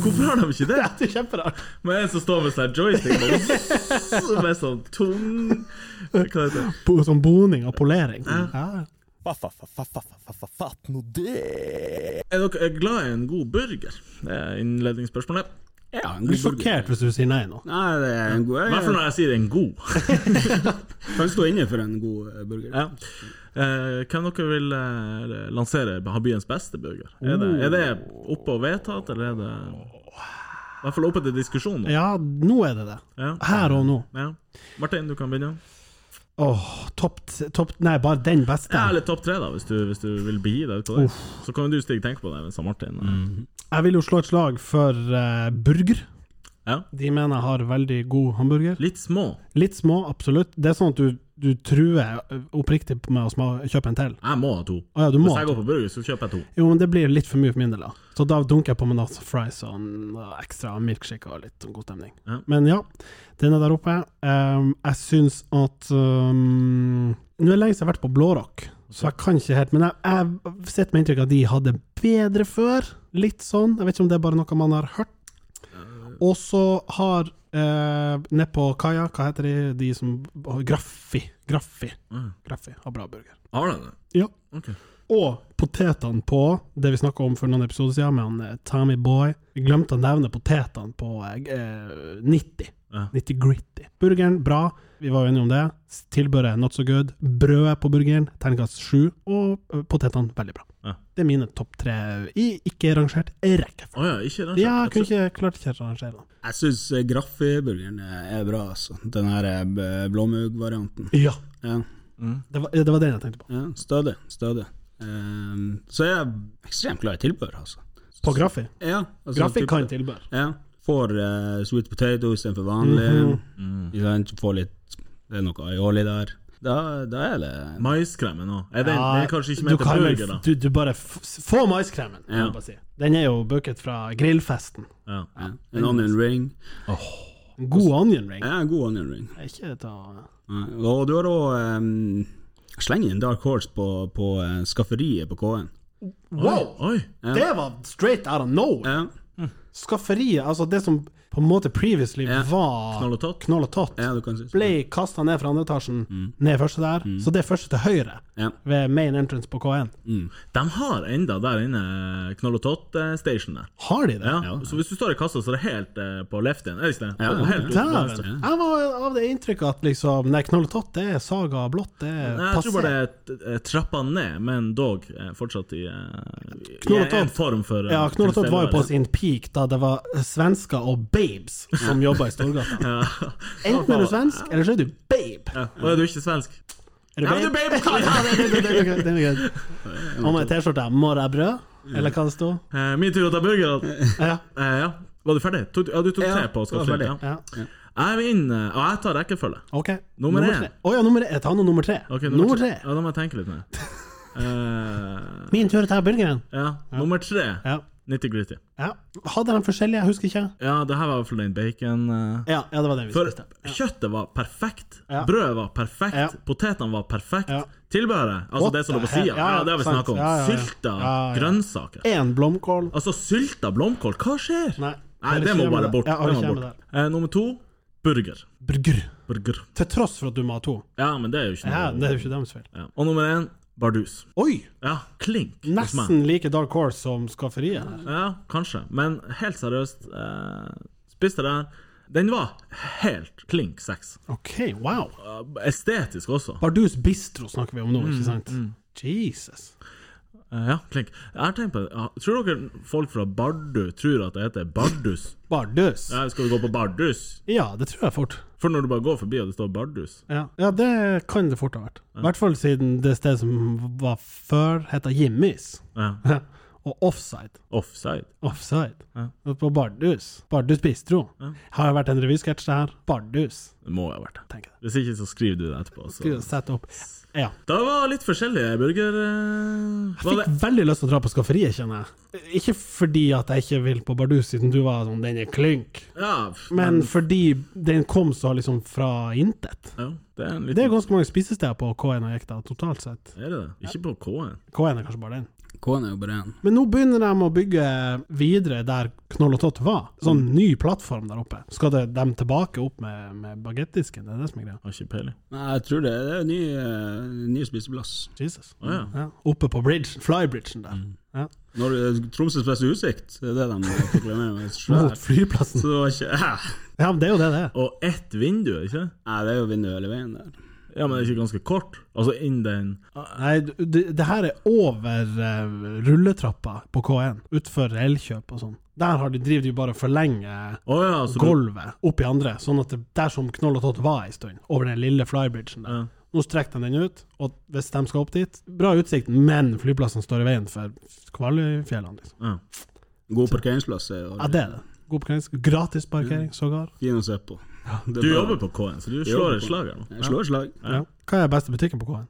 Speaker 1: Hvorfor har de ikke det?
Speaker 2: Det er kjemperart.
Speaker 1: Men en som står med sånn joystick bare, med sånn tung Hva heter det?
Speaker 2: Bo- Sånn boning og polering. Ja.
Speaker 4: Fatt nå det!
Speaker 1: Er dere glad i en god burger? Det er innledningsspørsmålet.
Speaker 3: Ja, en
Speaker 2: Du
Speaker 3: god
Speaker 2: er sjokkert
Speaker 3: burger.
Speaker 2: hvis du sier nei nå.
Speaker 3: Nei, det er en god
Speaker 1: I hvert fall
Speaker 3: Jeg
Speaker 1: når jeg sier en god.
Speaker 3: kan stå inne for en god eh, burger.
Speaker 1: Ja. Eh, hvem dere vil eh, lansere ha byens beste burger? Er det, er det oppe og vedtatt, eller er det I hvert fall oppe til diskusjon nå.
Speaker 2: Ja, nå er det det.
Speaker 1: Ja.
Speaker 2: Her og nå.
Speaker 1: Ja. Martin, du kan begynne.
Speaker 2: Åh, topp topp- Nei, bare den beste.
Speaker 1: Ja, eller topp tre, da, hvis du, hvis du vil begi deg ut på det. Så kan jo du Stig tenke på det mens han Martin eh,
Speaker 2: Jeg vil jo slå et slag for eh, burger.
Speaker 1: Ja.
Speaker 2: De mener jeg har veldig god hamburger.
Speaker 1: Litt små.
Speaker 2: Litt små, absolutt. Det er sånn at du, du truer oppriktig med å sma- kjøpe en til.
Speaker 1: Jeg må ha to.
Speaker 2: Å ja, du må.
Speaker 1: Hvis jeg går på burger, så kjøper jeg to.
Speaker 2: Jo, men det blir litt for mye for min del, da. Så da dunker jeg på med noe fries og en og ekstra milkshake og litt sånn god stemning.
Speaker 1: Ja.
Speaker 2: Men ja, den er der oppe. Ehm, jeg syns at ehm, Nå er det lenge siden jeg har vært på Blårock, så jeg kan ikke helt Men jeg, jeg sitter med inntrykk av at de hadde bedre før. Litt sånn. Jeg vet ikke om det er bare noe man har hørt. Og så har uh, nede på kaia, hva heter de, de som Graffi. Graffi.
Speaker 1: Mm.
Speaker 2: Graffi har bra burger.
Speaker 1: Har han det?
Speaker 2: Ja.
Speaker 1: Ok.
Speaker 2: Og potetene på det vi snakka om for noen episoder siden med han eh, Tommy Boy. Vi glemte å nevne potetene på eh, eh, 90.
Speaker 1: Ja.
Speaker 2: 90 gritty. Burgeren, bra. Vi var jo enige om det. Tilbøret, not so good. Brødet på burgeren, terningkast 7. Og eh, potetene, veldig bra.
Speaker 1: Ja.
Speaker 2: Det er mine topp tre i ikke-rangert rekkefølge.
Speaker 1: Å ja, ikke rangert.
Speaker 2: Ja,
Speaker 1: Jeg
Speaker 2: kunne
Speaker 1: tror-
Speaker 2: ikke, klarte ikke å rangere dem.
Speaker 3: Jeg syns Graffi-burgeren eh, er bra, altså. Den her eh, b- blåmuggvarianten.
Speaker 2: Ja.
Speaker 3: Ja,
Speaker 2: Det var, det var den jeg tenkte på.
Speaker 3: ja, stødig. Stødig. Ehm, så jeg er ekstremt glad i tilbør, altså.
Speaker 2: På Graffi.
Speaker 3: Ja, altså,
Speaker 2: Graffi
Speaker 3: typ-
Speaker 2: kan tilbør.
Speaker 3: Ja. Får eh, sweet potato istedenfor vanlig.
Speaker 2: Mhm.
Speaker 3: Ikke sant? Får litt Det er noe aioli der. Da, da er det
Speaker 1: Maiskremen òg. Er den,
Speaker 2: Ja,
Speaker 1: den er kanskje ikke
Speaker 2: du
Speaker 1: ment til
Speaker 2: kan vel-
Speaker 1: burger, da?
Speaker 2: Du, du bare f få maiskremen, kan
Speaker 3: Ja.
Speaker 2: jeg bare si. Den er jo buket fra grillfesten.
Speaker 1: Ja.
Speaker 3: ja, en onion ring.
Speaker 2: God onion ring.
Speaker 3: Ja, god onion ring.
Speaker 2: Ikke ta
Speaker 3: Ja, Og du har òg um, slenge inn Dark Horse på, på eh, skafferiet på K1.
Speaker 2: Wow!
Speaker 1: Oi!
Speaker 2: Det var straight out of nowhere.
Speaker 3: Ja,
Speaker 2: Skafferiet, altså det som på en måte previously
Speaker 3: Ja.
Speaker 2: var
Speaker 1: Knoll og tott. Mm.
Speaker 2: knoll og tott,
Speaker 3: ja, du kan si
Speaker 2: ble kasta ned fra andre etasjen, ned første der. Så det er første til høyre
Speaker 3: Ja.
Speaker 2: ved main entrance på K1.
Speaker 1: Mm. De har enda der inne eh, Knoll og Tott-station der.
Speaker 2: Har de det?
Speaker 1: Ja. Så hvis du står i kassa, så er det helt eh, på left igjen, er det ikke det?
Speaker 3: Ja, ja,
Speaker 1: Helt ut på venstre.
Speaker 2: Dæven! Jeg var av det inntrykket at liksom Nei, knoll og tott, det er saga blått, det er
Speaker 1: Nei, jeg tror
Speaker 2: passé.
Speaker 1: bare det er t- eh, trappa ned, men dog eh, fortsatt i, eh, i
Speaker 2: Knoll og
Speaker 1: i en
Speaker 2: Tott.
Speaker 1: form for eh,
Speaker 2: Ja, Knoll og Tott var jo på
Speaker 1: tilstedeværelse.
Speaker 2: sin peak da det var svensker og babes som jobba i Storgata.
Speaker 1: Ja.
Speaker 2: Enten er du svensk, eller så er du babe.
Speaker 1: Ja. Og er du ikke svensk?
Speaker 2: Er du
Speaker 1: Ja, men du er babe.
Speaker 2: Ja, det- det- det- det er greit, det er greit. Og med T-skjorta 'Må jeg brød?' eller hva det sto.
Speaker 1: Eh, min tur å ta burgeren.
Speaker 2: Ja.
Speaker 1: Eh, Mm. ja. Var du ferdig? Tok, du- ja, du tok
Speaker 3: Ja,
Speaker 1: tre på
Speaker 3: jeg var
Speaker 1: skafferiet.
Speaker 3: ferdig.
Speaker 1: Ja.
Speaker 2: ja.
Speaker 1: Jeg vil inn, eh, og jeg tar rekkefølge.
Speaker 2: OK.
Speaker 1: Nummer én.
Speaker 2: tre. Å ja, nummer én. Ta nå nummer tre.
Speaker 1: Ok,
Speaker 2: nummer
Speaker 1: tre.
Speaker 2: tre.
Speaker 1: Ja, da må jeg tenke litt mer. Eh,
Speaker 2: Min tur å ta burgeren.
Speaker 1: ja. Nummer tre.
Speaker 2: Ja.
Speaker 1: 90 gritty.
Speaker 2: ja. Hadde de forskjellige? Jeg husker ikke.
Speaker 1: Ja, det her var i hvert fall den bacon... eh.
Speaker 2: Ja, ja det var den vi
Speaker 1: For
Speaker 2: spiste.
Speaker 1: kjøttet var perfekt,
Speaker 2: Ja.
Speaker 1: brødet var perfekt,
Speaker 2: Ja.
Speaker 1: potetene var perfekt.
Speaker 2: Ja.
Speaker 1: Tilbehøret, altså
Speaker 2: What
Speaker 1: det som lå
Speaker 2: the
Speaker 1: på sida,
Speaker 2: hell?
Speaker 1: ja,
Speaker 2: Ja,
Speaker 1: det har vi
Speaker 2: sant.
Speaker 1: snakka om.
Speaker 2: Ja, ja, ja.
Speaker 1: Sylta
Speaker 2: Ja, ja.
Speaker 1: grønnsaker.
Speaker 2: Én blomkål.
Speaker 1: Altså sylta blomkål, hva skjer?
Speaker 2: Nei.
Speaker 1: Nei,
Speaker 2: Holder
Speaker 1: det
Speaker 2: ikke
Speaker 1: må
Speaker 2: hjemme
Speaker 1: bare
Speaker 2: der.
Speaker 1: bort.
Speaker 2: Ja, holder
Speaker 1: det må
Speaker 2: ikke hjemme
Speaker 1: bort. Eh, nummer to burger.
Speaker 2: Burger.
Speaker 1: burger.
Speaker 2: Til tross for at du må ha to.
Speaker 1: Ja, men det er jo ikke
Speaker 2: Ja,
Speaker 1: noe
Speaker 2: det er jo ikke deres feil.
Speaker 1: Ja. Og nummer én bardus.
Speaker 2: Oi!
Speaker 1: Ja, klink. hos meg.
Speaker 2: Nesten like Dark Horse som Skafferiet. her.
Speaker 1: Ja, kanskje. Men helt seriøst, eh, spiste den. Den var helt klink seks.
Speaker 2: OK, wow.
Speaker 1: Eh, Estetisk også.
Speaker 2: Bardus Bistro snakker vi om nå, ikke sant? Jesus.
Speaker 1: Eh, ja, klink. Jeg har tenkt på det. Ja, Tror dere folk fra Bardu tror at det heter Bardus?
Speaker 2: Bardus.
Speaker 1: Ja, skal vi gå på Bardus?
Speaker 2: Ja, det tror jeg fort.
Speaker 1: For når du bare går forbi og det står Bardus
Speaker 2: Ja, ja det kan det fort ha vært. I hvert fall siden det stedet som var før, heta Jimmys.
Speaker 1: ja.
Speaker 2: Og Offside.
Speaker 1: Offside.
Speaker 2: Offside.
Speaker 1: Ja.
Speaker 2: Og På Bardus. Bardus Bistro. Har det vært en revysketsj der? Bardus,
Speaker 1: Det må jo ha vært det.
Speaker 2: tenker jeg.
Speaker 1: Hvis ikke, så skriver du det etterpå.
Speaker 2: Skal
Speaker 1: Så.
Speaker 2: vi sette opp Ja.
Speaker 1: Det var litt forskjellige burger... eh,
Speaker 2: Jeg
Speaker 1: var det-
Speaker 2: fikk veldig lyst til å dra på Skafferiet, kjenner jeg. Ikke fordi at jeg ikke vil på Bardus, siden du var sånn 'den er klink',
Speaker 1: Ja,
Speaker 2: men fordi den kom så liksom fra intet.
Speaker 1: ja, det er en
Speaker 2: Det er
Speaker 1: liten...
Speaker 2: ganske mange spisesteder på K1 og Jekta totalt sett.
Speaker 1: Er det det? Ikke på K-en.
Speaker 2: K1 er kanskje bare den.
Speaker 3: K1 er jo bare én.
Speaker 2: Men nå begynner de å bygge videre der Knoll og Tott var. Sånn
Speaker 1: Mm.
Speaker 2: ny plattform der oppe. Skal det, de tilbake opp med, med bagettdisken? Det er det som er greia.
Speaker 1: Har ikke peiling.
Speaker 3: Nei, jeg tror det, det er en ny, eh, ny spiseplass.
Speaker 2: Jesus.
Speaker 1: Å ja. Mm.
Speaker 2: Ja, oppe på bridge, flybridgen der. Ja.
Speaker 3: Når du- Tromsøs beste utsikt, det er det de proklamerer med.
Speaker 2: Mot
Speaker 3: Svært.
Speaker 2: flyplassen.
Speaker 3: Så det var ikke Hæ?
Speaker 2: Ja, men det er jo det det er.
Speaker 1: Og ett vindu, ikke det?
Speaker 3: Nei, det er jo vinduet hele veien der.
Speaker 1: Ja, men det er ikke ganske kort? Altså inn den
Speaker 2: Nei, du- det, det her er over eh, rulletrappa på K1, utfor Elkjøp og sånn. Der har de, driver de bare og forlenger
Speaker 1: Å ja, så du-
Speaker 2: gulvet opp i andre, sånn at det, der som Knoll og Tott var en stund, over den lille flybridgen der.
Speaker 1: Ja.
Speaker 2: Nå strekker de den ut, og hvis de skal opp dit Bra utsikt, men flyplassen står i veien for Kvaløyfjellene, liksom.
Speaker 1: ja.
Speaker 3: God parkeringsplass er jo
Speaker 2: Ja, det er det. Mm. God parkering. Gratis parkering, sågar.
Speaker 3: fin å se på. Det
Speaker 1: Du
Speaker 3: er bra.
Speaker 1: jobber på K-en, så du
Speaker 3: Jeg jobber
Speaker 1: slår et
Speaker 3: på-
Speaker 1: slag her nå.
Speaker 3: Jeg slår et slag.
Speaker 2: Ja. Hva er beste butikken på K1?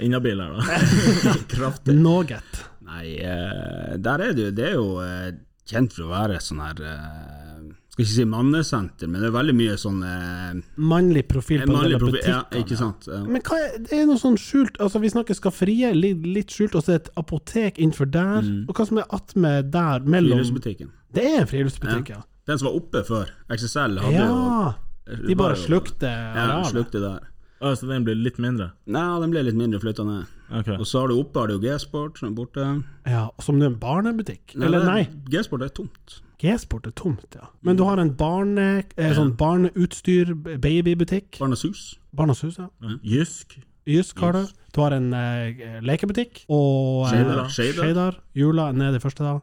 Speaker 1: Innabil her, da.
Speaker 3: Kraftig.
Speaker 2: Noget.
Speaker 3: Nei, eh, der er det jo Det er jo eh, kjent for å være sånn her eh, Skal ikke si mannesenter, men det er veldig mye sånn eh,
Speaker 2: Mannlig profil på en del
Speaker 3: mannlig
Speaker 2: av
Speaker 3: profil. Ja,
Speaker 2: butikkene.
Speaker 3: ikke sant? Ja.
Speaker 2: Men hva er, det er noe sånn skjult Altså, vi snakker skafferiet, litt, litt skjult, og så er det et apotek innenfor der. Og hva som er attmed der, mellom
Speaker 3: Friluftsbutikken.
Speaker 2: Det er en friluftsbutikk, ja.
Speaker 3: Den som var oppe før. XSL hadde
Speaker 2: Ja!
Speaker 3: jo
Speaker 2: De bare
Speaker 3: var jo-
Speaker 2: slukte
Speaker 3: Ja, de
Speaker 2: arealet.
Speaker 3: slukte der.
Speaker 1: Å, så den blir litt mindre?
Speaker 3: Nei, den ble litt mindre flytta ned.
Speaker 1: Ok.
Speaker 3: Og så har du oppe har du G-sport som er borte.
Speaker 2: Ja, som det er en barnebutikk. Eller nei,
Speaker 3: G-sport er tomt.
Speaker 2: G-sport er tomt, ja. Men du har en barne, eh, sånn barneutstyr, babybutikk.
Speaker 3: Barnas hus.
Speaker 2: Barnas hus, ja.
Speaker 1: Jysk.
Speaker 2: Jysk har du. Du har en eh, lekebutikk. Og eh,
Speaker 3: Skeidar. Skeidar.
Speaker 2: Skeidar. Jula nede i første dag.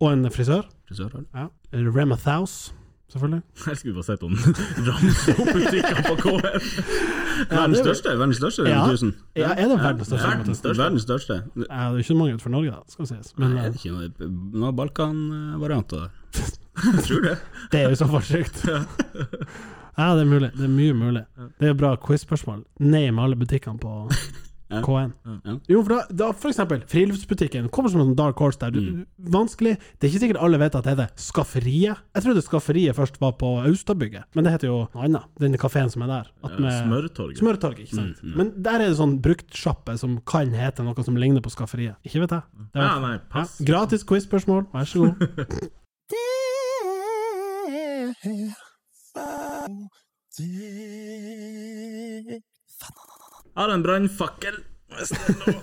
Speaker 2: Og en frisør.
Speaker 3: Frisør har du.
Speaker 2: Ja. Rema Thouse, selvfølgelig.
Speaker 1: Jeg skulle bare sett om ramse opp butikkene på K-en.
Speaker 3: Verdens
Speaker 2: det er-
Speaker 3: største, verdens største
Speaker 2: Ja.
Speaker 3: Rema 1000.
Speaker 2: Ja, er det verdens største?
Speaker 1: Verdens
Speaker 2: Verdens.
Speaker 1: største.
Speaker 3: Verdens største. Det
Speaker 2: Ja, det er ikke så mange utenfor Norge, da, skal sies. Men
Speaker 3: er
Speaker 2: eh,
Speaker 3: det ikke noe, noe Balkan-varianter der. Jeg tror det.
Speaker 2: det er jo så forsøkt. Ja, det er mulig. Det er mye mulig. Det er bra quiz-spørsmål. Name alle butikkene på
Speaker 3: Ja.
Speaker 2: KN.
Speaker 3: Ja.
Speaker 2: Jo, for da, da for eksempel, friluftsbutikken kommer som en dark horse der. Du, Vanskelig. Det er ikke sikkert alle vet at det heter Skafferiet. Jeg trodde Skafferiet først var på Austabygget, men det heter jo noe annet. Den kafeen som er der. At med-
Speaker 1: Smørtorget.
Speaker 2: Smørtorget, ikke sant. Men der er det sånn bruktsjappe som kan hete noe som ligner på Skafferiet. Ikke vet jeg. Det er-
Speaker 1: Ja, nei, pass.
Speaker 2: Ja, gratis quiz-spørsmål, vær så god.
Speaker 4: Det fa- det-
Speaker 1: Har en brannfakkel, hvis det er lov.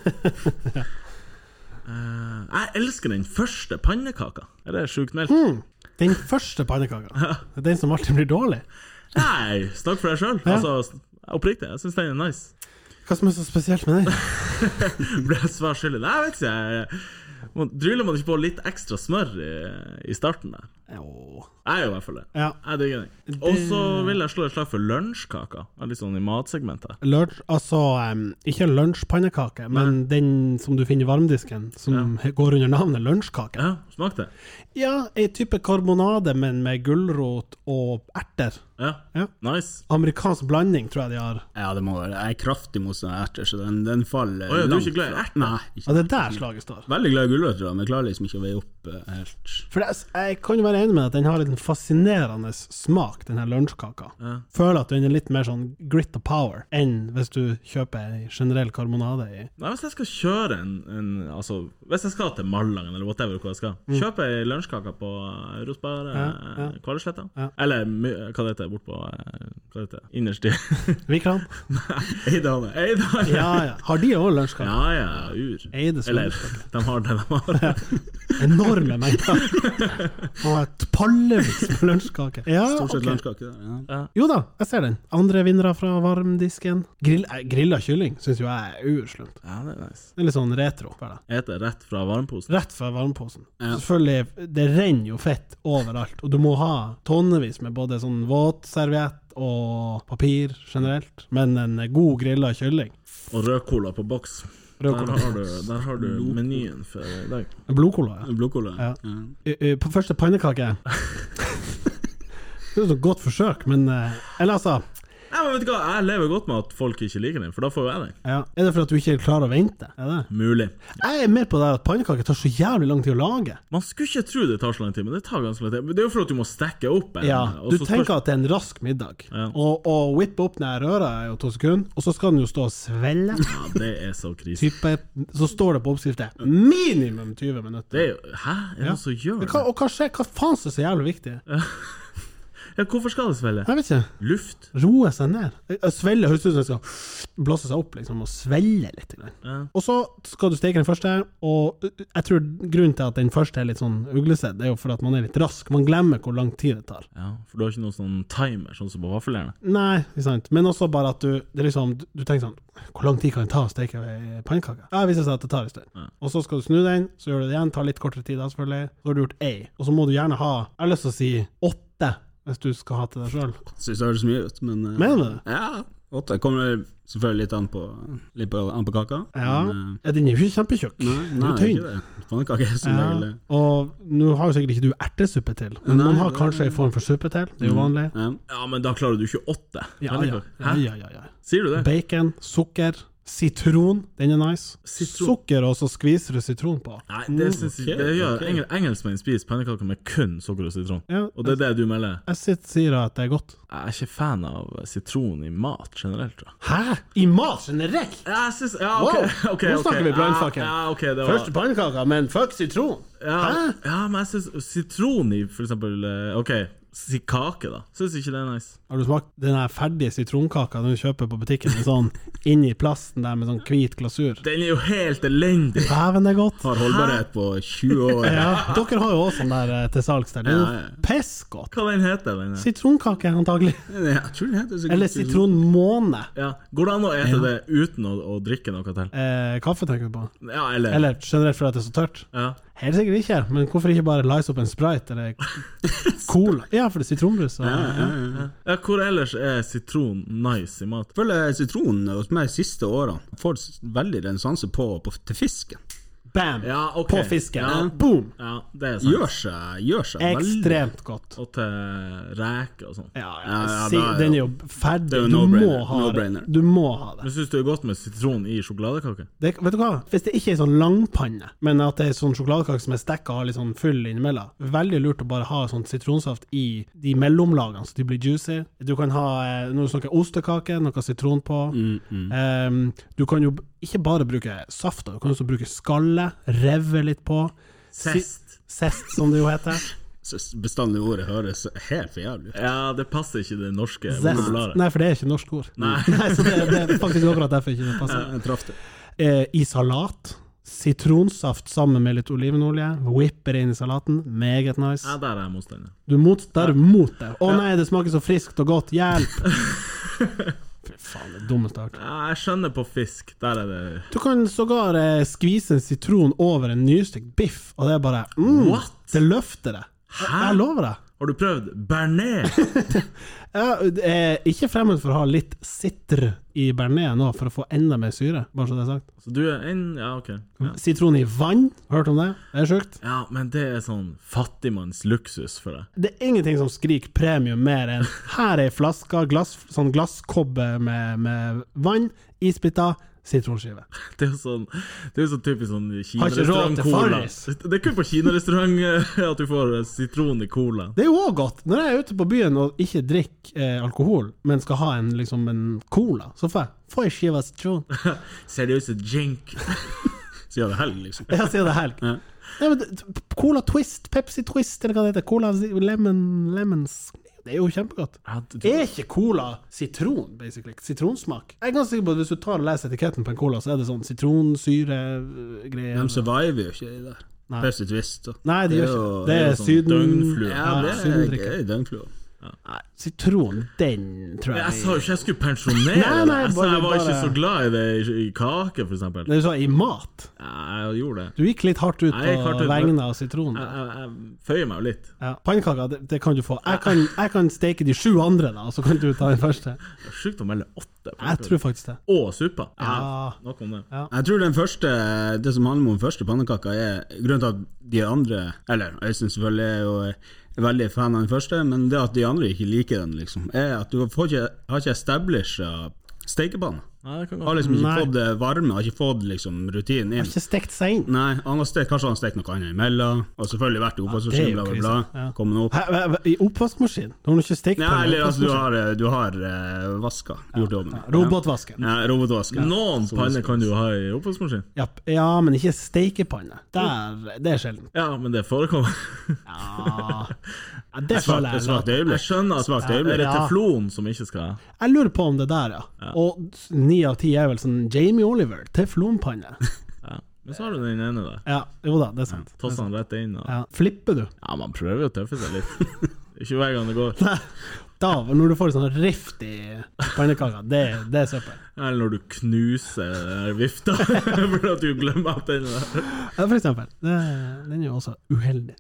Speaker 1: Eh, jeg elsker den første pannekaka. Er det sjukt meldt?
Speaker 2: Den første pannekaka. Det er Den som alltid blir dårlig.
Speaker 1: Nei, snakk for deg sjøl. Altså, oppriktig, jeg syns den er nice.
Speaker 2: Hva som er så spesielt med den?
Speaker 1: Ble jeg svar skyldig? Nei, jeg vet ikke. Jeg, må, dryler man ikke på litt ekstra smør i, i starten der?
Speaker 2: Åh.
Speaker 1: Jeg gjør i hvert fall det.
Speaker 2: Ja.
Speaker 1: Jeg digger den. Og så vil jeg slå et slag for lunsjkaka. Jeg er Litt sånn i matsegmentet.
Speaker 2: Lunsj, altså em, ikke lunsjpannekake, men den som du finner i varmdisken, som he- går under navnet lunsjkake.
Speaker 1: Ja, smakte det?
Speaker 2: Ja, ei type karbonade, men med gulrot og erter.
Speaker 1: Ja.
Speaker 2: Ja.
Speaker 1: Nice.
Speaker 2: Amerikansk blanding, tror jeg de har.
Speaker 3: Ja, det må være. Jeg er kraftig motstander av erter, så den, den faller
Speaker 1: Å ja, du er ikke
Speaker 3: langt
Speaker 1: glad i
Speaker 3: fra-
Speaker 1: erter?
Speaker 3: Nei. Ikke.
Speaker 2: Ja, det er der slaget står.
Speaker 3: Veldig glad i gulrøtter, da, men jeg klarer liksom ikke å veie opp eh, helt
Speaker 2: For jeg, jeg kan jo være enig med at den har en fascinerende smak, den her lunsjkaka. Føler at den er litt mer sånn grit og power enn hvis du kjøper ei generell karbonade i
Speaker 1: Nei, Hvis jeg skal kjøre en, en Altså, hvis jeg skal til Malangen eller whatever hvor jeg skal, kjøpe ei lunsjkake på eh, Rosberg, eh,
Speaker 2: Mm. Ja, ja.
Speaker 1: Kvaløysletta.
Speaker 2: Ja.
Speaker 1: Eller my- hva det heter bortpå eh, Hva det heter Innerst i
Speaker 2: Vikran.
Speaker 1: Eidane. Eidane.
Speaker 2: Ja, ja. Har de òg lunsjkake?
Speaker 1: Ja, ja, ur.
Speaker 2: Eides
Speaker 1: Eller, de har det de har.
Speaker 2: Enorme mengder. Og et pallevis med lunsjkake. Ja,
Speaker 3: Stort sett
Speaker 2: ok.
Speaker 3: lunsjkake der. Ja.
Speaker 2: Jo da, jeg ser den. Andre vinnere fra varmdisken. Grill, eh, grilla kylling syns jo jeg er uslumt.
Speaker 1: Ja, det er nice.
Speaker 2: Det er litt sånn retro. føler jeg.
Speaker 1: Eter rett fra varmposen.
Speaker 2: Rett fra varmeposen.
Speaker 3: Ja.
Speaker 2: Selvfølgelig, det renner jo fett overalt, og du må ha tonnevis med både sånn våtserviett og papir generelt, men en god grilla kylling.
Speaker 1: Og rød cola på boks.
Speaker 2: Rød
Speaker 1: Der
Speaker 2: cola.
Speaker 1: har du, der har du menyen for i dag.
Speaker 2: Blodcola, ja.
Speaker 3: Blodkål.
Speaker 2: Ja.
Speaker 3: Ja.
Speaker 1: Mm.
Speaker 2: Ø- ø, På første pannekake Det er jo et godt forsøk, men eh, Eller altså
Speaker 1: Nei, men vet du hva, Jeg lever godt med at folk ikke liker den, for da får jo jeg den.
Speaker 2: ja. Er det for at du ikke klarer å vente? Er det?
Speaker 1: Mulig.
Speaker 2: Jeg er mer på det at pannekaker tar så jævlig lang tid å lage.
Speaker 1: Man skulle ikke tro det tar så lang tid, men det tar ganske lang tid. Men Det er jo for at du må stekke opp. en,
Speaker 2: Ja,
Speaker 1: og
Speaker 2: Du
Speaker 1: så spørs-
Speaker 2: tenker at det er en rask middag,
Speaker 1: Ja.
Speaker 2: og, og whippe opp den her røra er jo to sekunder, og så skal den jo stå og svelle.
Speaker 1: Ja, det er så krise.
Speaker 2: type, så står det på oppskriftet minimum 20 minutter.
Speaker 1: Det er jo Hæ? Er det
Speaker 2: Ja.
Speaker 1: noen som gjør
Speaker 2: Men hva,
Speaker 1: det?
Speaker 2: og hva skjer? Hva faen som er så jævlig viktig?
Speaker 1: Ja, hvorfor skal det svelle?
Speaker 2: Jeg vet ikke.
Speaker 1: Luft?
Speaker 2: Roe seg ned. Eh, Svelle høres ut som det skal blåse seg opp, liksom, og svelle litt. Grann.
Speaker 1: Ja.
Speaker 2: Og så skal du steke den første, og eh, jeg tror grunnen til at den første er litt sånn uglesett, det er jo fordi at man er litt rask. Man glemmer hvor lang tid det tar.
Speaker 1: Ja, for du har ikke noen sånn timer, sånn som på vaffeljernet?
Speaker 2: Nei, ikke sant. Men også bare at du det er liksom, du tenker sånn Hvor lang tid kan det ta å steke ei pannekake? Ja, det viser seg at det tar en stund. Og så skal du snu den, så gjør du det igjen. Tar litt kortere tid da, selvfølgelig. Så har du gjort ei. Og så må du gjerne ha Jeg har lyst til å si åtte, hvis du skal ha til deg sjøl.
Speaker 3: Syns det høres mye ut, men eh,
Speaker 2: Mener du det?
Speaker 3: Ja. Åtte kommer selvfølgelig litt an på, litt på, an på kaka.
Speaker 2: Ja.
Speaker 3: Men,
Speaker 2: ja. Den er jo ikke kjempetjukk.
Speaker 3: eh, nei,
Speaker 2: Den er
Speaker 3: nei,
Speaker 2: jo
Speaker 3: ikke det. Pannekake er som regel
Speaker 2: Ja,
Speaker 3: det.
Speaker 2: og nå har jo sikkert ikke du ertesuppe til, men
Speaker 3: Nei,
Speaker 2: man har
Speaker 3: det-
Speaker 2: kanskje en form for suppe til. Det er jo vanlig.
Speaker 3: Ja.
Speaker 1: Ja, men da klarer du ikke åtte.
Speaker 2: Ja, ja, ja,
Speaker 1: Hæ?
Speaker 2: ja, ja, ja.
Speaker 1: Sier du det?
Speaker 2: Bacon, sukker, sitron. Den er nice.
Speaker 1: Sitron.
Speaker 2: Sukker, og så skviser du sitron på.
Speaker 1: Nei, det syns jeg
Speaker 3: ok,
Speaker 1: det gjør
Speaker 3: ok.
Speaker 1: engel, Engelskmenn spiser pannekaker med kun sukker og sitron.
Speaker 2: Ja,
Speaker 1: Og det er det du melder?
Speaker 2: Jeg sitter, sier at det er godt.
Speaker 1: Jeg er ikke fan av sitron i mat generelt, tror jeg.
Speaker 2: Hæ? I mat generelt?
Speaker 1: Jeg syns Ja, OK.
Speaker 2: Wow,
Speaker 1: ok, ok.
Speaker 2: nå snakker vi brannfakkel.
Speaker 1: Ja, ja, ok, det var
Speaker 2: Første pannekaka, men fuck sitron.
Speaker 1: ja,
Speaker 2: Hæ?
Speaker 1: ja, men jeg syns sitron i for eksempel eh, OK, si kake, da. Syns ikke det er nice.
Speaker 2: Har du smakt den her ferdige sitronkaka du kjøper på butikken? Med sånn inni plasten der med sånn hvit glasur.
Speaker 1: Den er jo helt elendig.
Speaker 2: Dæven, det er godt.
Speaker 3: Har holdbarhet på 20 år.
Speaker 2: Ja, dere har jo også sånn der eh, til salgs der. Det er
Speaker 3: Ja,
Speaker 2: jo
Speaker 3: ja.
Speaker 2: pissgodt.
Speaker 1: Hva den heter den? her?
Speaker 2: Sitronkake, antagelig.
Speaker 3: Jeg tror den heter så
Speaker 2: Eller
Speaker 3: godt-
Speaker 2: sitronmåne.
Speaker 1: Ja. Går det an å ete det uten å, å drikke noe til?
Speaker 2: Eh, kaffe tenker du på?
Speaker 1: Ja, eller,
Speaker 2: Eller generelt fordi det er så tørt?
Speaker 1: Ja.
Speaker 2: Helt sikkert ikke, men hvorfor ikke bare lice opp en sprite eller cola? Ja, for det er sitronbrus. Og,
Speaker 3: Ja, ja, ja.
Speaker 1: ja, hvor ellers er sitron nice i mat?
Speaker 3: Jeg føler sitronen hos meg de siste årene får s- veldig renessanse på, på til fisken.
Speaker 2: Bam!
Speaker 1: Ja, ok.
Speaker 2: På fisken.
Speaker 1: Ja.
Speaker 2: Boom!
Speaker 1: Ja, det er sant.
Speaker 3: Gjør seg, gjør seg veldig
Speaker 2: Ekstremt godt.
Speaker 1: Og til reker og sånn.
Speaker 2: Ja, ja,
Speaker 3: Ja, ja,
Speaker 2: si-
Speaker 3: da er
Speaker 2: den er
Speaker 3: jo-
Speaker 2: jo ferdig.
Speaker 3: det er jo
Speaker 2: du, må
Speaker 3: no-brainer,
Speaker 2: ha
Speaker 3: no-brainer.
Speaker 2: det. du må ha det.
Speaker 1: Men syns du det er godt med sitron i sjokoladekake?
Speaker 2: det. Vet du hva? Hvis det ikke er sånn langpanne, men at det er sånn sjokoladekake som er stekka og har litt sånn fyll innimellom, veldig lurt å bare ha sånn sitronsaft i de mellomlagene, så de blir juicy. Du kan ha eh, når du snakker ostekake, noe sitron på. Ehm, du kan jo b- ikke bare bruke safta, du kan også bruke skallet, reve litt på. Si-
Speaker 1: Sest.
Speaker 2: Sest, som det jo heter.
Speaker 3: Så Bestandig ordet høres helt for jævlig ut.
Speaker 1: Ja, det passer ikke det norske
Speaker 2: Zest.
Speaker 1: vokabularet.
Speaker 2: Nei, for det er ikke norsk ord.
Speaker 1: Nei.
Speaker 2: så det, det er faktisk akkurat derfor ikke det passer.
Speaker 3: Jeg traff det.
Speaker 2: eh, i salat. Sitronsaft sammen med litt olivenolje. Whipper inn i salaten. Meget
Speaker 1: Ja,
Speaker 2: nice.
Speaker 1: der er jeg motstander.
Speaker 2: Du mot, der er du mot det. Å nei, det smaker så friskt og godt. Hjelp! Fy faen, det er dummeste jeg har hørt.
Speaker 1: Ja, jeg skjønner på fisk. Der er det
Speaker 2: Du kan sågar eh, skvise en sitron over en nystekt biff, og det er bare mm,
Speaker 1: What?
Speaker 2: Det løfter det. Jeg, jeg lover deg.
Speaker 1: Har du prøvd bearnés?
Speaker 2: Jeg er eh, ikke fremmed for å ha litt sitr i bearnés nå, for å få enda mer syre, bare så det er sagt.
Speaker 1: Så du er en Ja, OK. Ja.
Speaker 2: Sitron i vann, hørt om det? Det er sjukt.
Speaker 1: ja, men det er sånn fattigmannsluksus for deg.
Speaker 2: Det er ingenting som skriker premium mer enn her er ei flaske, glass, sånn glasskobbe med, med vann, isbiter, sitronskive.
Speaker 1: Det er jo sånn Det er jo sånn typisk sånn
Speaker 2: Har ikke råd til
Speaker 1: Kina-restaurant-cola.
Speaker 2: Farris.
Speaker 1: Det er kun på kinarestaurant eh, at du får eh, sitron i cola.
Speaker 2: Det er jo òg godt. Når jeg er ute på byen og ikke drikker eh, alkohol, men skal ha en, liksom en cola, så får jeg får ei skive sitron.
Speaker 1: Seriøse jink.
Speaker 3: Siden det er helg, liksom.
Speaker 2: Jeg sier det er helg.
Speaker 3: Ja.
Speaker 2: Nei, men det- Cola Twist, Pepsi Twist, eller hva det heter. Cola si- lemon, Lemons. Det er jo kjempegodt.
Speaker 1: Ja, du- du-
Speaker 2: Er ikke cola sitron, basically? Sitronsmak? Jeg er ganske sikker på at hvis du tar og leser etiketten på en cola, så er det sånn sitronsyregreier.
Speaker 3: De surviver jo ikke i det der.
Speaker 2: Nei.
Speaker 3: Pepsi Twist og
Speaker 2: Nei, det gjør ikke det.
Speaker 3: jo-
Speaker 2: Det er
Speaker 1: sånn
Speaker 2: syden...
Speaker 1: døgnflue.
Speaker 3: Ja, det er- det
Speaker 2: sydendrikke.
Speaker 3: er døgnflua.
Speaker 2: Nei, Sitron, den tror
Speaker 1: Jeg
Speaker 2: jeg
Speaker 1: sa jo ikke jeg skulle pensjonere
Speaker 2: Nei, nei,
Speaker 1: meg! Jeg sa
Speaker 2: bare-
Speaker 1: jeg var ikke
Speaker 2: bare-
Speaker 1: så glad i det i, i kake, for eksempel.
Speaker 2: Det Du sa i mat.
Speaker 1: Ja, Jeg gjorde det.
Speaker 2: Du gikk litt hardt ut
Speaker 1: Jeg gikk hardt
Speaker 2: på
Speaker 1: ut, men-
Speaker 2: vegne av sitronen.
Speaker 1: Jeg, jeg, jeg føyer meg jo litt.
Speaker 2: Ja. Pannekaker, det, det kan du få. Jeg kan, jeg kan steke de sju andre, da, og så kan du ta den første.
Speaker 1: Det er Sjukt å melde åtte. på en
Speaker 2: Jeg
Speaker 1: prøve.
Speaker 2: tror faktisk det.
Speaker 1: Og suppa.
Speaker 2: Ja.
Speaker 1: Nok om det.
Speaker 3: Jeg tror den første, det som handler om den første pannekaka, er grunnen til at de andre Eller Øystein selvfølgelig er jo er veldig fan av den første, men det at de andre ikke liker den, liksom, er at du får ikke, har ikke established uh, stekepanna.
Speaker 1: Ja, det kan gå.
Speaker 3: Har liksom ikke
Speaker 2: Nei.
Speaker 3: fått det varme, har ikke fått liksom rutinen
Speaker 2: Jeg har
Speaker 3: inn.
Speaker 2: ikke stekt seg inn.
Speaker 3: Nei, han har stekt, kanskje han har stekt noe annet imellom, og selvfølgelig vært i
Speaker 2: det er
Speaker 3: oppvaskmaskinen,
Speaker 2: jo
Speaker 3: bla, bla,
Speaker 2: krise.
Speaker 3: bla.
Speaker 2: Ja.
Speaker 3: Kommet opp.
Speaker 2: Hæ, hæ, hæ, I oppvaskmaskin? Du har nå ikke stekt
Speaker 3: Ja,
Speaker 2: pannen i
Speaker 3: eller altså, du
Speaker 2: oppvaskmaskin.
Speaker 3: har, du har eh, vaska, gjort jobben.
Speaker 2: Robotvasken.
Speaker 3: Ja, robotvaska.
Speaker 1: Noen panner kan du jo ha i oppvaskmaskin.
Speaker 2: Ja, p- ja, men ikke stekepanne. Der, det er sjelden.
Speaker 1: Ja, men det forekommer.
Speaker 2: Ja, ja det
Speaker 3: Svakt
Speaker 2: føler jeg.
Speaker 3: svakt
Speaker 2: er lat.
Speaker 1: Jeg
Speaker 3: øyeblikk.
Speaker 1: skjønner at
Speaker 3: Svakt
Speaker 1: det
Speaker 3: øyeblikk.
Speaker 1: er det
Speaker 2: Ja.
Speaker 1: teflon som ikke skal
Speaker 2: Jeg lurer på om det der, ja. Og s- ni av ti er vel sånn Jamie Oliver, teflonpanne.
Speaker 1: ja. Men så har du den ene der.
Speaker 2: Ja, jo da, det er sant.
Speaker 1: Tosser han rett inn. Og...
Speaker 2: Ja. Flipper du?
Speaker 1: Ja, man prøver jo å tøffe seg litt. Ikke hver gang det går.
Speaker 2: Nei. Da, når du får sånn rift i pannekaka, det, det er søppel.
Speaker 1: Eller når du knuser den der vifta fordi at du glemmer at den er der.
Speaker 2: Ja, for eksempel. Det, den er jo også uheldig.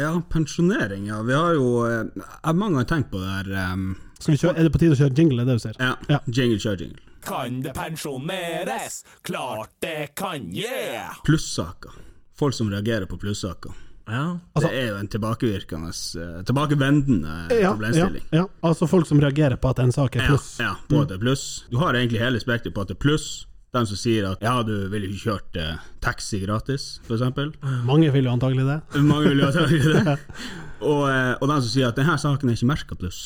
Speaker 3: Ja, pensjonering, ja. Vi har jo eh, Jeg har mange ganger tenkt på det her em,
Speaker 2: Skal vi kjøre, er det på tide å kjøre jingle, er det du sier?
Speaker 3: Ja,
Speaker 2: Ja.
Speaker 3: jingle, kjør jingle.
Speaker 4: Kan det pensjoneres? Klart det kan, yeah!
Speaker 3: Plussaker. Folk som reagerer på plussaker.
Speaker 1: Ja.
Speaker 3: det er jo en tilbakevirkende eh, Tilbakevendende
Speaker 2: ja,
Speaker 3: problemstilling.
Speaker 2: ja. Altså folk som reagerer på at en sak er
Speaker 3: Ja,
Speaker 2: pluss.
Speaker 3: ja, på at det er pluss. Du har egentlig hele spekteret på at det er pluss. De som sier at ja, du ville ikke kjørt eh, taxi gratis, for eksempel.
Speaker 2: Mange vil jo antagelig det.
Speaker 3: Mange vil jo ha taxi det. Og, eh, og de som sier at denne saken er ikke merka pluss.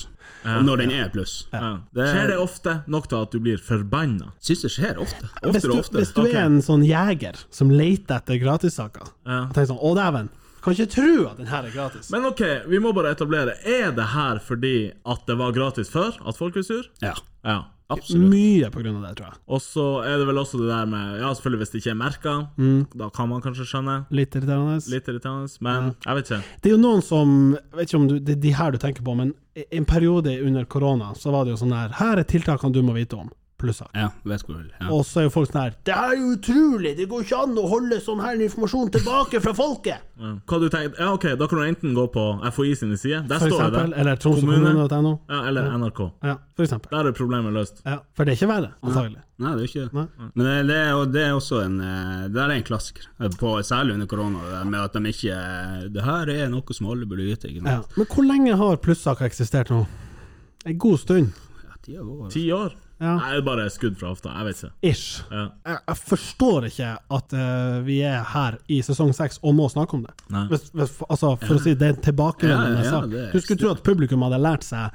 Speaker 3: Og når den er pluss.
Speaker 1: ja.
Speaker 3: Det-
Speaker 1: Skjer det ofte nok til at du blir forbanna?
Speaker 3: Syns det skjer ofte.
Speaker 2: Hvis
Speaker 3: Oftere
Speaker 2: du,
Speaker 3: og oftere.
Speaker 2: hvis du er en sånn jeger som leter etter gratissaker,
Speaker 1: Ja.
Speaker 2: og tenker sånn Å, dæven, kan ikke tro at den her er gratis.
Speaker 1: Men OK, vi må bare etablere. Er det her fordi at det var gratis før? At folk er sur?
Speaker 3: Ja,
Speaker 1: Ja.
Speaker 3: absolutt.
Speaker 2: Mye på grunn av det, tror jeg.
Speaker 1: Og så er det vel også det der med Ja, selvfølgelig hvis det ikke er merka,
Speaker 2: Mm.
Speaker 1: da kan man kanskje skjønne.
Speaker 2: Litt irriterende.
Speaker 1: Litt irriterende, men jeg vet ikke.
Speaker 2: Det er jo noen som jeg vet ikke om du, Det er de her du tenker på, men en periode under korona så var det jo sånn her Her er tiltakene du må vite om. plussak.
Speaker 3: Ja, vet hvor du vil. Ja.
Speaker 2: Og så er jo folk sånn her Det er jo utrolig! Det går ikke an å holde sånn her informasjon tilbake fra folket!
Speaker 1: Ja. Hva du tenker? Ja, ok, da kan du enten gå på FHI sine sider, der
Speaker 2: For
Speaker 1: står det.
Speaker 2: eksempel. Eller tromsøkommune.no.
Speaker 1: Ja, eller NRK.
Speaker 2: Ja, for eksempel.
Speaker 1: Der er problemet løst.
Speaker 2: Ja, for det er ikke verre, antagelig.
Speaker 3: Nei, det er ikke det.
Speaker 2: Nei.
Speaker 3: Men det, det, er, og det er også en eh, Det der er en klassiker, eh, på, særlig under korona, det der med at de ikke eh, Det her er noe som alle burde vite. Ikke
Speaker 2: Ja.
Speaker 3: sant?
Speaker 2: Men hvor lenge har plussaker eksistert nå? En god stund.
Speaker 3: Ja. tida går.
Speaker 1: Ti år?
Speaker 2: Ja.
Speaker 1: Nei, det er bare skudd fra hofta. Jeg vet ikke.
Speaker 2: Ish.
Speaker 1: Ja.
Speaker 2: Jeg, jeg forstår ikke at eh, vi er her i sesong seks og må snakke om det.
Speaker 1: Nei.
Speaker 2: Hvis, hvis, altså, for å si det er en tilbakevendende
Speaker 3: Ja, ja,
Speaker 2: sak.
Speaker 3: det er Mm.
Speaker 2: Du skulle tro at publikum hadde lært seg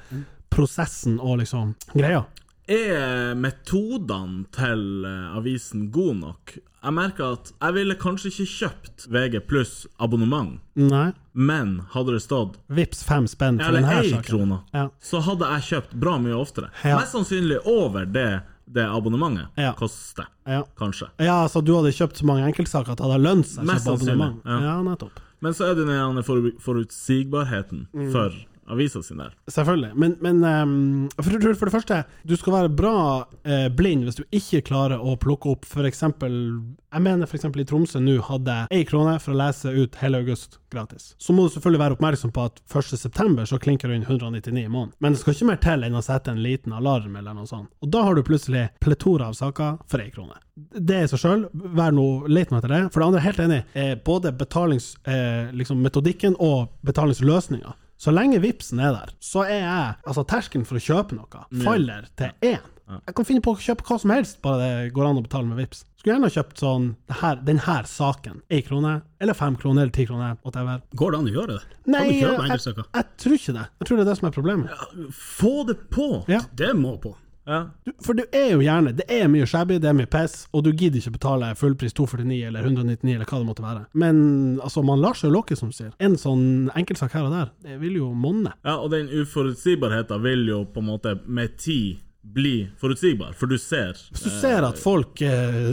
Speaker 2: prosessen og liksom greia.
Speaker 1: Er metodene til eh, avisen gode nok? Jeg merker at jeg ville kanskje ikke kjøpt VG pluss abonnement,
Speaker 2: Nei.
Speaker 1: men hadde det stått
Speaker 2: Vips fem spenn for
Speaker 1: eller
Speaker 2: denne
Speaker 1: ei
Speaker 2: saken.
Speaker 1: krone,
Speaker 2: Ja.
Speaker 1: så hadde jeg kjøpt bra mye oftere.
Speaker 2: Ja.
Speaker 1: Mest sannsynlig over det det abonnementet
Speaker 2: Ja.
Speaker 1: koster,
Speaker 2: Ja.
Speaker 1: kanskje.
Speaker 2: Ja, så du hadde kjøpt så mange enkeltsaker at det hadde lønt seg? å
Speaker 1: Mest
Speaker 2: kjøpe abonnement.
Speaker 1: sannsynlig, ja.
Speaker 2: Ja. nettopp.
Speaker 1: Men så er det den ene for, forutsigbarheten
Speaker 2: Mm.
Speaker 1: for avisa sin der.
Speaker 2: Selvfølgelig. Men, men ehm, for, jeg tror for det første, du skal være bra eh, blind hvis du ikke klarer å plukke opp f.eks. Jeg mener f.eks. i Tromsø nå hadde én krone for å lese ut hele august gratis. Så må du selvfølgelig være oppmerksom på at 1.9. så klinker du inn 199 i måneden. Men det skal ikke mer til enn å sette en liten alarm eller noe sånt. Og da har du plutselig pletora av saker for én krone. Det i seg sjøl, vær nå leit meg etter det. For det andre, helt enig, eh, både betalingsmetodikken eh, liksom metodikken og betalingsløsninga. Så lenge vipsen er der, så er jeg Altså, terskelen for å kjøpe noe faller til én. Jeg kan finne på å kjøpe hva som helst, bare det går an å betale med vips. Skulle gjerne ha kjøpt sånn det her, den her saken. Én krone, eller fem kroner, eller ti kroner, whatever.
Speaker 3: Går det an å gjøre det?
Speaker 2: Nei,
Speaker 3: kan du
Speaker 2: jeg,
Speaker 3: kjøpe
Speaker 2: jeg,
Speaker 3: enkeltsaker?
Speaker 2: tror ikke det. Jeg tror det er det som er problemet.
Speaker 1: Få det på!
Speaker 2: Ja.
Speaker 3: Det må på.
Speaker 1: Ja.
Speaker 2: Du, for du er jo gjerne Det er mye shabby, det er mye piss, og du gidder ikke betale fullpris 249 eller 199 eller hva det måtte være. Men altså, man lar seg lokke, som du sier. En sånn enkeltsak her og der, det vil jo monne.
Speaker 1: Ja, og den uforutsigbarheten vil jo på en måte med tid bli forutsigbar, for du ser.
Speaker 2: Hvis du ser at folk eh,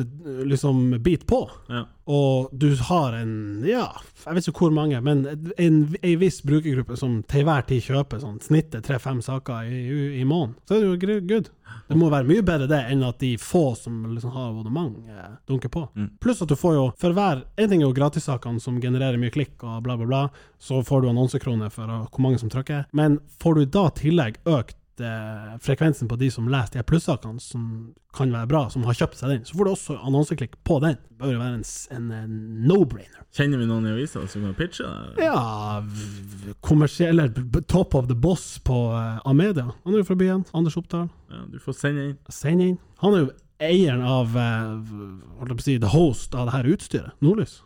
Speaker 2: liksom biter på,
Speaker 1: Ja.
Speaker 2: og du har en Ja, jeg vet ikke hvor mange, men en, en viss brukergruppe som til hver tid kjøper sånn snittet tre-fem saker i, i måneden, så er det jo gre- good. Det må være mye bedre det enn at de få som liksom har abonnement, eh, dunker på. Pluss at du får jo for hver En ting er jo gratissakene som genererer mye klikk og bla, bla, bla, så får du annonsekroner for eh, hvor mange som trykker, men får du da i tillegg økt eh, frekvensen på de som leser de her plussakene, som kan være bra, som har kjøpt seg den, så får du også annonseklikk på den. Det bør jo være en, s- en, eh, no-brainer.
Speaker 1: Kjenner vi noen i avisa som kan pitche? det?
Speaker 2: Ja, v- v- kommersiell eller b- b- top of the boss på eh, Amedia. Han er jo fra byen. Anders Oppdal.
Speaker 1: Ja, du får sende inn.
Speaker 2: Send inn. Han er jo eieren av eh, v- holdt jeg på å si, the host av det her utstyret, Nordlys.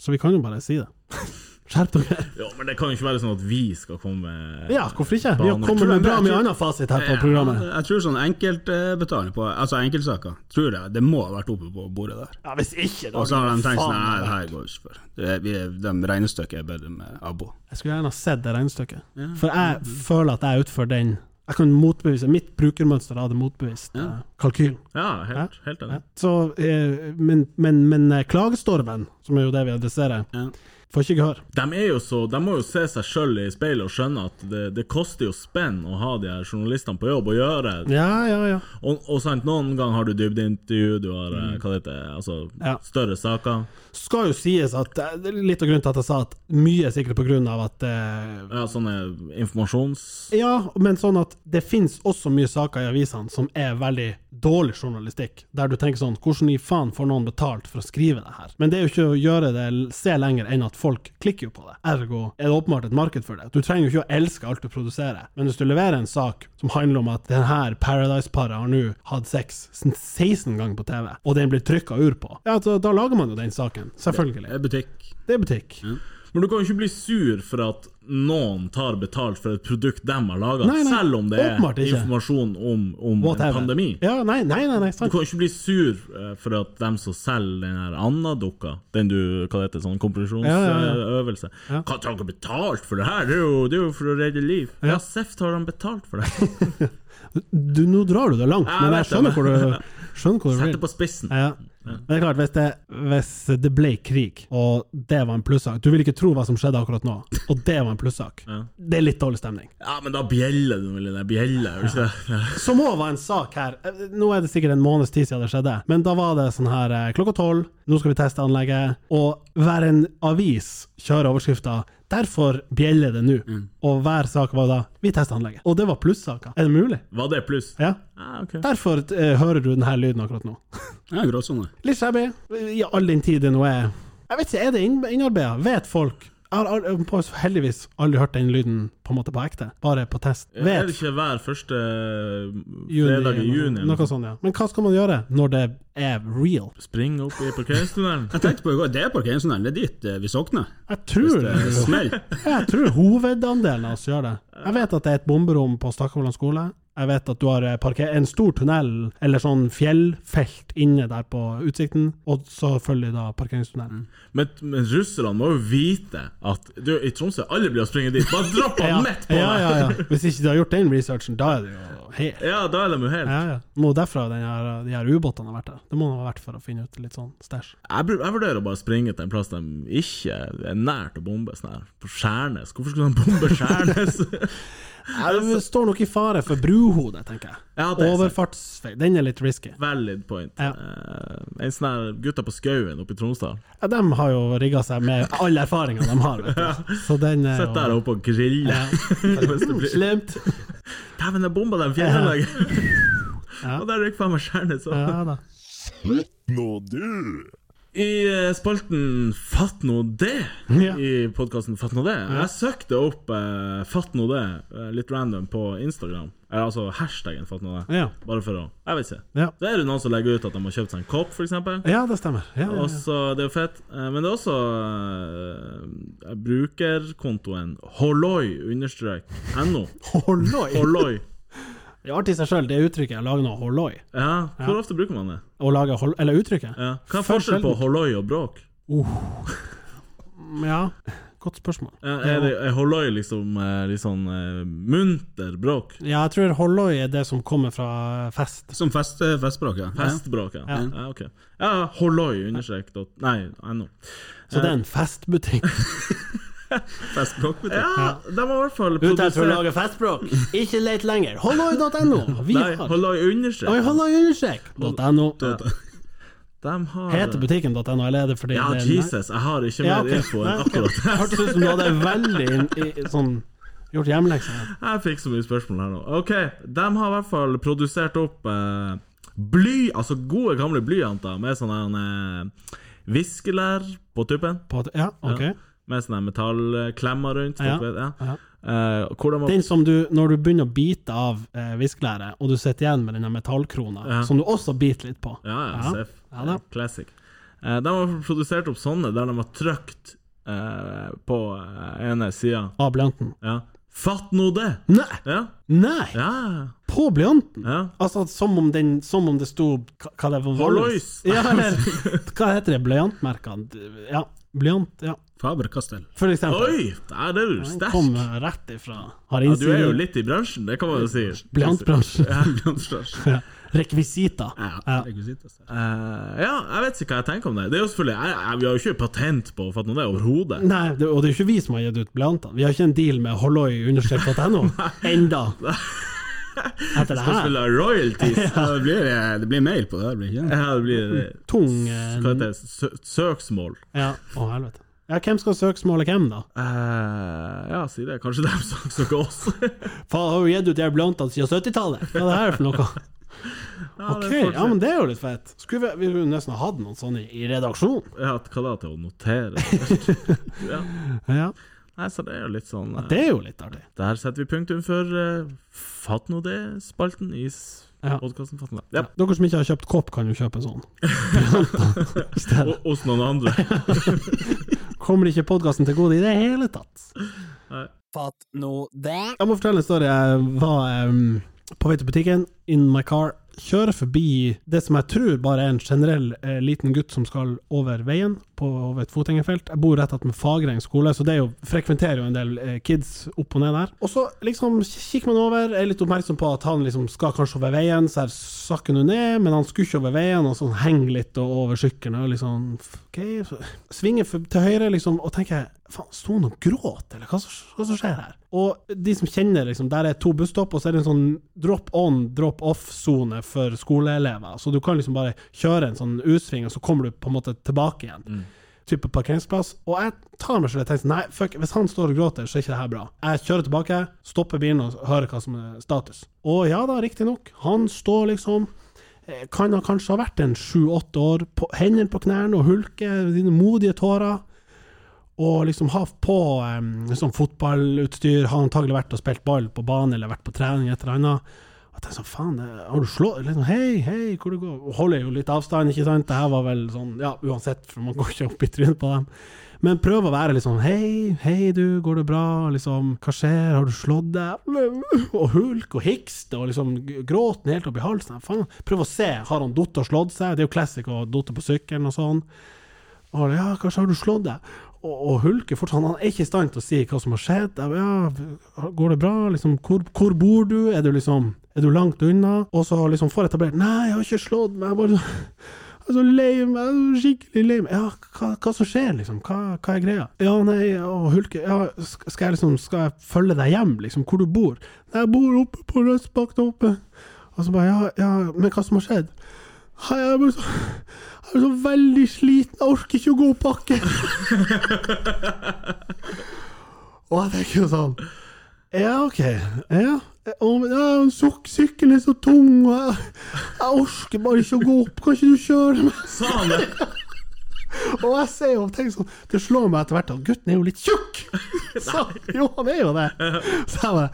Speaker 2: Så vi kan jo bare si det. Skjerp dere.
Speaker 1: Ja, men det kan jo ikke være sånn at vi skal komme
Speaker 2: Ja, hvorfor ikke? Vi har kommet med bra mye annen fasit her på programmet.
Speaker 3: Jeg tror sånn enkeltbetaling på Altså enkeltsaker, tror jeg det må ha vært oppe på bordet der.
Speaker 2: Ja, Hvis ikke, da
Speaker 3: Og så har de tenkt
Speaker 2: faen
Speaker 3: sånn Nei,
Speaker 2: meg
Speaker 3: det her går ikke for. Det, er- vi, de regnestykket er bedre med abo.
Speaker 2: Jeg skulle gjerne ha sett det regnestykket. For jeg føler at jeg utfører den Jeg kan motbevise Mitt brukermønster hadde motbevist eh, kalkylen.
Speaker 1: Ja, helt, helt enig.
Speaker 2: Så, eh, men, men, men eh, klagestormen, som er jo det vi adresserer,
Speaker 3: Ja.
Speaker 2: får ikke gehør.
Speaker 1: De, er jo så, de må jo se seg sjøl i speilet og skjønne at det, det koster jo spenn å ha de her journalistene på jobb og gjøre
Speaker 2: Ja, ja, ja.
Speaker 1: Og, og sant, noen ganger har du dybdeintervju, du har eh, hva det heter, altså
Speaker 2: Mm. Ja.
Speaker 1: større saker.
Speaker 2: Skal jo sies at eh, det er Litt av grunnen til at jeg sa at mye er sikkert på grunn av at eh,
Speaker 1: Ja, sånne informasjons...
Speaker 2: Ja, men sånn at det finnes også mye saker i avisene som er veldig dårlig journalistikk, der du tenker sånn Hvordan i faen får noen betalt for å skrive det her? Men det er jo ikke å gjøre det se lenger enn at folk klikker jo på det. Ergo er det åpenbart et marked for det. Du trenger jo ikke å elske alt du produserer, men hvis du leverer en sak som handler om at den her Paradise-paret har nå hatt sex 16 ganger på TV, og den blir trykka ur på, ja, da, da lager man jo den saken. Selvfølgelig.
Speaker 3: Det er butikk.
Speaker 2: Det er butikk.
Speaker 1: eh, Men du kan jo ikke bli sur for at noen tar betalt for et produkt de har laga,
Speaker 2: Nei, nei,
Speaker 1: selv om det er
Speaker 2: åpenbart ikke.
Speaker 1: informasjon om, om en
Speaker 2: Whatever.
Speaker 1: pandemi.
Speaker 2: Ja, nei, nei, nei, nei
Speaker 1: Du
Speaker 2: sant.
Speaker 1: kan jo ikke bli sur eh, for at dem som selger den her Anna-dukka, den du hva det heter, sånn
Speaker 2: Ja, ja,
Speaker 1: kompresjonsøvelse Hva tar dere betalt for det her? Det er jo, det er jo for å redde liv. Ja, Seff tar de betalt for det.
Speaker 2: Du, nå drar du det langt,
Speaker 1: Jeg
Speaker 2: men jeg
Speaker 1: vet det,
Speaker 2: skjønner
Speaker 1: men-
Speaker 2: hvor du, skjønner hvor du
Speaker 1: Sett det
Speaker 2: vil.
Speaker 1: på spissen.
Speaker 2: Ja. Men det er klart, hvis det, hvis det ble krig, og det var en plussak Du vil ikke tro hva som skjedde akkurat nå, og det var en plussak. Det er litt dårlig stemning.
Speaker 1: Ja, men da bjeller du vel i den bjella, gjør du ikke det?
Speaker 2: Som òg var en sak her. Eh, Nå er det sikkert en måneds tid siden det skjedde, men da var det sånn her eh, klokka tolv, nå skal vi teste anlegget, og hver en avis kjører overskrifta 'Derfor bjeller det nå',
Speaker 1: Mm.
Speaker 2: og hver sak var da 'Vi tester anlegget'. Og det var plussaker. Er det mulig?
Speaker 1: Var det pluss?
Speaker 2: Ja.
Speaker 1: Ah, ok.
Speaker 2: Derfor eh, hører du denne lyden akkurat nå.
Speaker 3: Ja, gråsone.
Speaker 2: Litt shabby. I all den tid det nå er Jeg vet ikke, er det inn- innarbeida? Vet folk? Jeg har al- på- heldigvis aldri hørt den lyden på en måte på ekte, bare på test.
Speaker 1: Er det
Speaker 2: Vet
Speaker 1: ikke hver første eh,
Speaker 2: juni,
Speaker 1: fredag i
Speaker 2: eller
Speaker 1: juni?
Speaker 2: Noe, noe sånt, ja. Men hva skal man gjøre når det er real?
Speaker 1: Spring opp i parkeringstunnelen?
Speaker 3: Jeg tenkte på i går, det er parkeringstunnelen, det er dit eh, vi sokner.
Speaker 2: Jeg tror,
Speaker 3: Det er smell.
Speaker 2: jeg tror hovedandelen av oss gjør det. Jeg vet at det er et bomberom på Stakkarvollene skole. Jeg vet at du har eh, parker en stor tunnel, eller sånn fjellfelt, inne der på utsikten. Og selvfølgelig da parkeringstunnelen.
Speaker 1: Men, men russerne må jo vite at du, i Tromsø alle blir å springe dit. Bare dropp han midt på
Speaker 2: ja, ja,
Speaker 1: deg!
Speaker 2: ja. Hvis ikke du har gjort den researchen, da er det jo helt
Speaker 1: Ja, da er de jo helt
Speaker 2: Ja, ja. Må derfor den her, de her ubåtene har vært der. Det må de ha vært for å finne ut litt sånn stæsj.
Speaker 1: Jeg, bru- jeg vurderer å bare springe til en plass de ikke er nært å bombe. Sånn her. På Skjærnes. Hvorfor skulle de bombe Skjærnes?
Speaker 2: Du står nok i fare for bruhodet, tenker jeg.
Speaker 1: Ja, det er sant.
Speaker 2: Overfartsfeil. Den er litt risky.
Speaker 1: Valid point.
Speaker 2: Ja.
Speaker 1: Eh, en sånn her gutta på skauen oppe i Tromsdal.
Speaker 2: Ja, de har jo rigga seg med all erfaringa de har, vet du. Så den er
Speaker 1: Sitt der oppe og grille.
Speaker 2: Ja.
Speaker 1: Hvis det blir-
Speaker 2: Slemt.
Speaker 1: Dæven, jeg bomba dem fjellanlegget!
Speaker 2: Ja.
Speaker 1: Og der røyk faen meg Skjærnes òg.
Speaker 2: Ja da.
Speaker 4: Nå du.
Speaker 1: I eh, spalten Fatt nå det,
Speaker 2: Ja.
Speaker 1: i podkasten Fatt nå det, jeg søkte opp eh, Fatt nå det eh, litt random på Instagram. Eller altså hashtaggen Fatt nå det.
Speaker 2: Ja.
Speaker 1: Bare for å Jeg vet ikke.
Speaker 2: Ja.
Speaker 1: Så er det noen som legger ut at de har kjøpt seg en kopp, f.eks.
Speaker 2: ja, det stemmer. Ja, ja,
Speaker 1: Og
Speaker 2: ja.
Speaker 1: så, Det er jo fett. Eh, Men det er også eh, brukerkontoen holoi-no.
Speaker 2: Holloi!
Speaker 1: Holoi.
Speaker 2: Det er artig i seg sjøl, det uttrykket. Å lage noe holloi.
Speaker 1: Ja, hvor ofte bruker man det?
Speaker 2: Å lage hol... Eller uttrykket?
Speaker 1: Ja. Hva er
Speaker 2: For
Speaker 1: forskjellen på
Speaker 2: sjeldent.
Speaker 1: holoi og bråk?
Speaker 2: Ja. Godt spørsmål.
Speaker 1: Ja, Er, det- er holoi liksom eh, litt sånn eh, munter bråk?
Speaker 2: Ja, jeg tror holloi er det som kommer fra fest.
Speaker 3: Som fest, eh, festspråk, ja.
Speaker 1: Festbråk, ja.
Speaker 2: Ja.
Speaker 1: Ja, ok. Ja, holoi understrek dot Nei, no.
Speaker 2: Så det er en festbutikk.
Speaker 3: Festspråk, vet du.
Speaker 1: Ja, de har i hvert fall
Speaker 2: Utad for å
Speaker 1: produsert
Speaker 2: lage festspråk, ikke let lenger. Holloi.no. Vi
Speaker 1: Nei,
Speaker 2: har
Speaker 1: holoi
Speaker 2: Oi,
Speaker 1: understrek.
Speaker 2: holloi understrek. .no.
Speaker 1: De har
Speaker 2: Heter butikken .no, eller er det fordi
Speaker 1: Ja,
Speaker 2: det er
Speaker 1: Jesus, jeg har ikke mer
Speaker 2: Ja, ok.
Speaker 1: info enn
Speaker 2: Nei, ok.
Speaker 1: akkurat det.
Speaker 2: Hørtes ut som du hadde veldig inn, i, sånn gjort hjemmeleksa.
Speaker 1: Jeg fikk så mye spørsmål her nå. Ok, De har i hvert fall produsert opp eh, bly, altså gode, gamle blyanter med sånn her, eh, viskelær på tuppen.
Speaker 2: på at- Ja, ok.
Speaker 1: Med sånne her metallklemmer rundt.
Speaker 2: Ja,
Speaker 1: folk vet-
Speaker 2: ja.
Speaker 1: Eh, hvor de har
Speaker 2: Den som du, når du begynner å bite av eh, viskelæret, og du sitter igjen med denne metallkrona, som du også biter litt på.
Speaker 1: Ja, ja, safe.
Speaker 2: Ja da.
Speaker 1: Classic. Eh, de har produsert opp sånne der de har trykt eh, på eh, ene sida.
Speaker 2: Av blyanten.
Speaker 1: Ja. Fatt nå det!
Speaker 2: Nei!
Speaker 1: Ja,
Speaker 2: Nei!
Speaker 1: ja,
Speaker 2: På blyanten!
Speaker 1: ja.
Speaker 2: Altså, som om, den, som om det sto hva- Hva det var
Speaker 1: Hallois!
Speaker 2: Ja, eller hva heter det? Blyantmerkene? Ja. Blyant, ja.
Speaker 3: Faber-Castell.
Speaker 2: For eksempel.
Speaker 1: Oi! Der er du
Speaker 2: Den
Speaker 1: sterk!
Speaker 2: Kom rett ifra. Har
Speaker 1: Ja, du er jo
Speaker 2: innsiden.
Speaker 1: litt i bransjen, det kan man jo si.
Speaker 2: Blyantbransjen.
Speaker 1: Ja, bransjen.
Speaker 2: Ja. Rekvisita.
Speaker 3: Ja, rekvisitter.
Speaker 1: Eh, ja, jeg vet ikke hva jeg tenker om det. Det er jo selvfølgelig jeg, jeg, Vi har jo ikke patent på Fatt nå det overhodet.
Speaker 2: Nei, det, og det er jo ikke vi som har gitt ut blyantene. Vi har ikke en deal med holloi-understrek.no enda. Etter det
Speaker 1: Skal
Speaker 2: her.
Speaker 1: spille royalties.
Speaker 3: Ja, det, blir, eh, det blir mail på det her, blir det ikke det?
Speaker 1: Ja, det blir eh,
Speaker 2: Tung
Speaker 1: Hva
Speaker 2: eh,
Speaker 1: heter det? Sø søksmål.
Speaker 2: Ja, å helvete. Ja, hvem skal søksmåle hvem, da?
Speaker 1: Eh, ja, si det. Kanskje de saksøker oss.
Speaker 2: Faen, har jo gitt ut de her blyantene siden 70-tallet! Hva er det her for noe?
Speaker 1: Ja,
Speaker 2: Ok,
Speaker 1: det er
Speaker 2: ja, men det er jo litt fett. Skulle vi, vi skulle nesten ha hatt noen sånne i redaksjonen.
Speaker 1: Ja, hva da til å notere?
Speaker 2: Ja,
Speaker 1: Nei, så det er jo litt sånn eh,
Speaker 2: det er jo litt artig.
Speaker 1: Der setter vi punktum for eh, Fatt nå det-spalten i
Speaker 2: Ja.
Speaker 1: ja. podkasten Fatt nå det. Ja.
Speaker 2: Dere som ikke har kjøpt kopp, kan jo kjøpe sånn.
Speaker 1: Og hos noen andre.
Speaker 2: Kommer ikke podkasten til gode i det hele tatt.
Speaker 4: Fatt nå det.
Speaker 2: Jeg må fortelle en story. Jeg var em, på vei til butikken, in my car, kjører forbi det som jeg tror bare er en generell eh, liten gutt som skal over veien, på over et fotgjengerfelt. Jeg bor rett attmed Fagreng skole, så det er jo, frekventerer jo en del eh, kids opp og ned der. Og så liksom kikker man over, er litt oppmerksom på at han liksom skal kanskje over veien, så her sakker han jo ned, men han skulle ikke over veien, og så henger litt og over sykkelen og liksom OK, så svinger for, til høyre, liksom, og tenker faen, sto han og gråt, eller hva som, hva som skjer her? Og de som kjenner, liksom, der er to busstopp, og så er det en sånn drop on, drop off-sone for skoleelever. Så du kan liksom bare kjøre en sånn U-sving, og så kommer du på en måte tilbake igjen. Type parkeringsplass. Og jeg tar meg selv og tenker sånn, nei, fuck, hvis han står og gråter, så er ikke det her bra. Jeg kjører tilbake, stopper bilen og hører hva som er status. Og ja da, riktignok, han står liksom eh, kan ha kanskje ha vært en sju-åtte år, på, hendene på knærne og hulker dine modige tårer og liksom ha på em, sånn fotballutstyr, har antagelig vært og spilt ball på banen eller vært på trening, et eller annet. Og jeg tenker sånn, faen, det- har du slått liksom, Hei, hei, hvor det går? Og holder jo litt avstand, ikke sant? Det her var vel sånn, ja, uansett, for man går ikke opp i trynet på dem. Men prøv å være litt sånn Hei, hei du, går det bra? Liksom, hva skjer? Har du slått deg? Og hulk og hikst og liksom gråten helt opp i halsen. Faen, prøv å se, har han datt og slått seg? Det er jo classic å datte på sykkelen og sånn. Og han, ja, kanskje har du slått deg? Og, og hulker fortsatt. Han er ikke i stand til å si hva som har skjedd. Jeg, ja, går det bra? Liksom, hvor, hvor bor du? Er du liksom Er du langt unna? Og så liksom får jeg etablert Nei, jeg har ikke slått meg. Jeg bare jeg er så lei meg. Jeg er så skikkelig lei meg. Ja, hva, hva som skjer, liksom? Hva, hva er greia? Ja, nei, og hulker Ja, sk- skal jeg liksom Skal jeg følge deg hjem, liksom? Hvor du bor? Nei, jeg bor oppe på Rødsbakktoppen. Og så bare Ja, ja, men hva som har skjedd? Hei, jeg er så, jeg er så veldig sliten, jeg orker ikke å gå opp bakken. og jeg tenker jo sånn Ja, OK. Ja. Og, men, ja, suk- Sykkelen er så tung, og jeg, jeg orker bare ikke å gå opp. Kan ikke du kjøre meg?
Speaker 1: Sa han det?
Speaker 2: Og jeg ser jo tenker sånn Det slår meg etter hvert at gutten er jo litt tjukk! Så, jo, han er jo det. Så jeg bare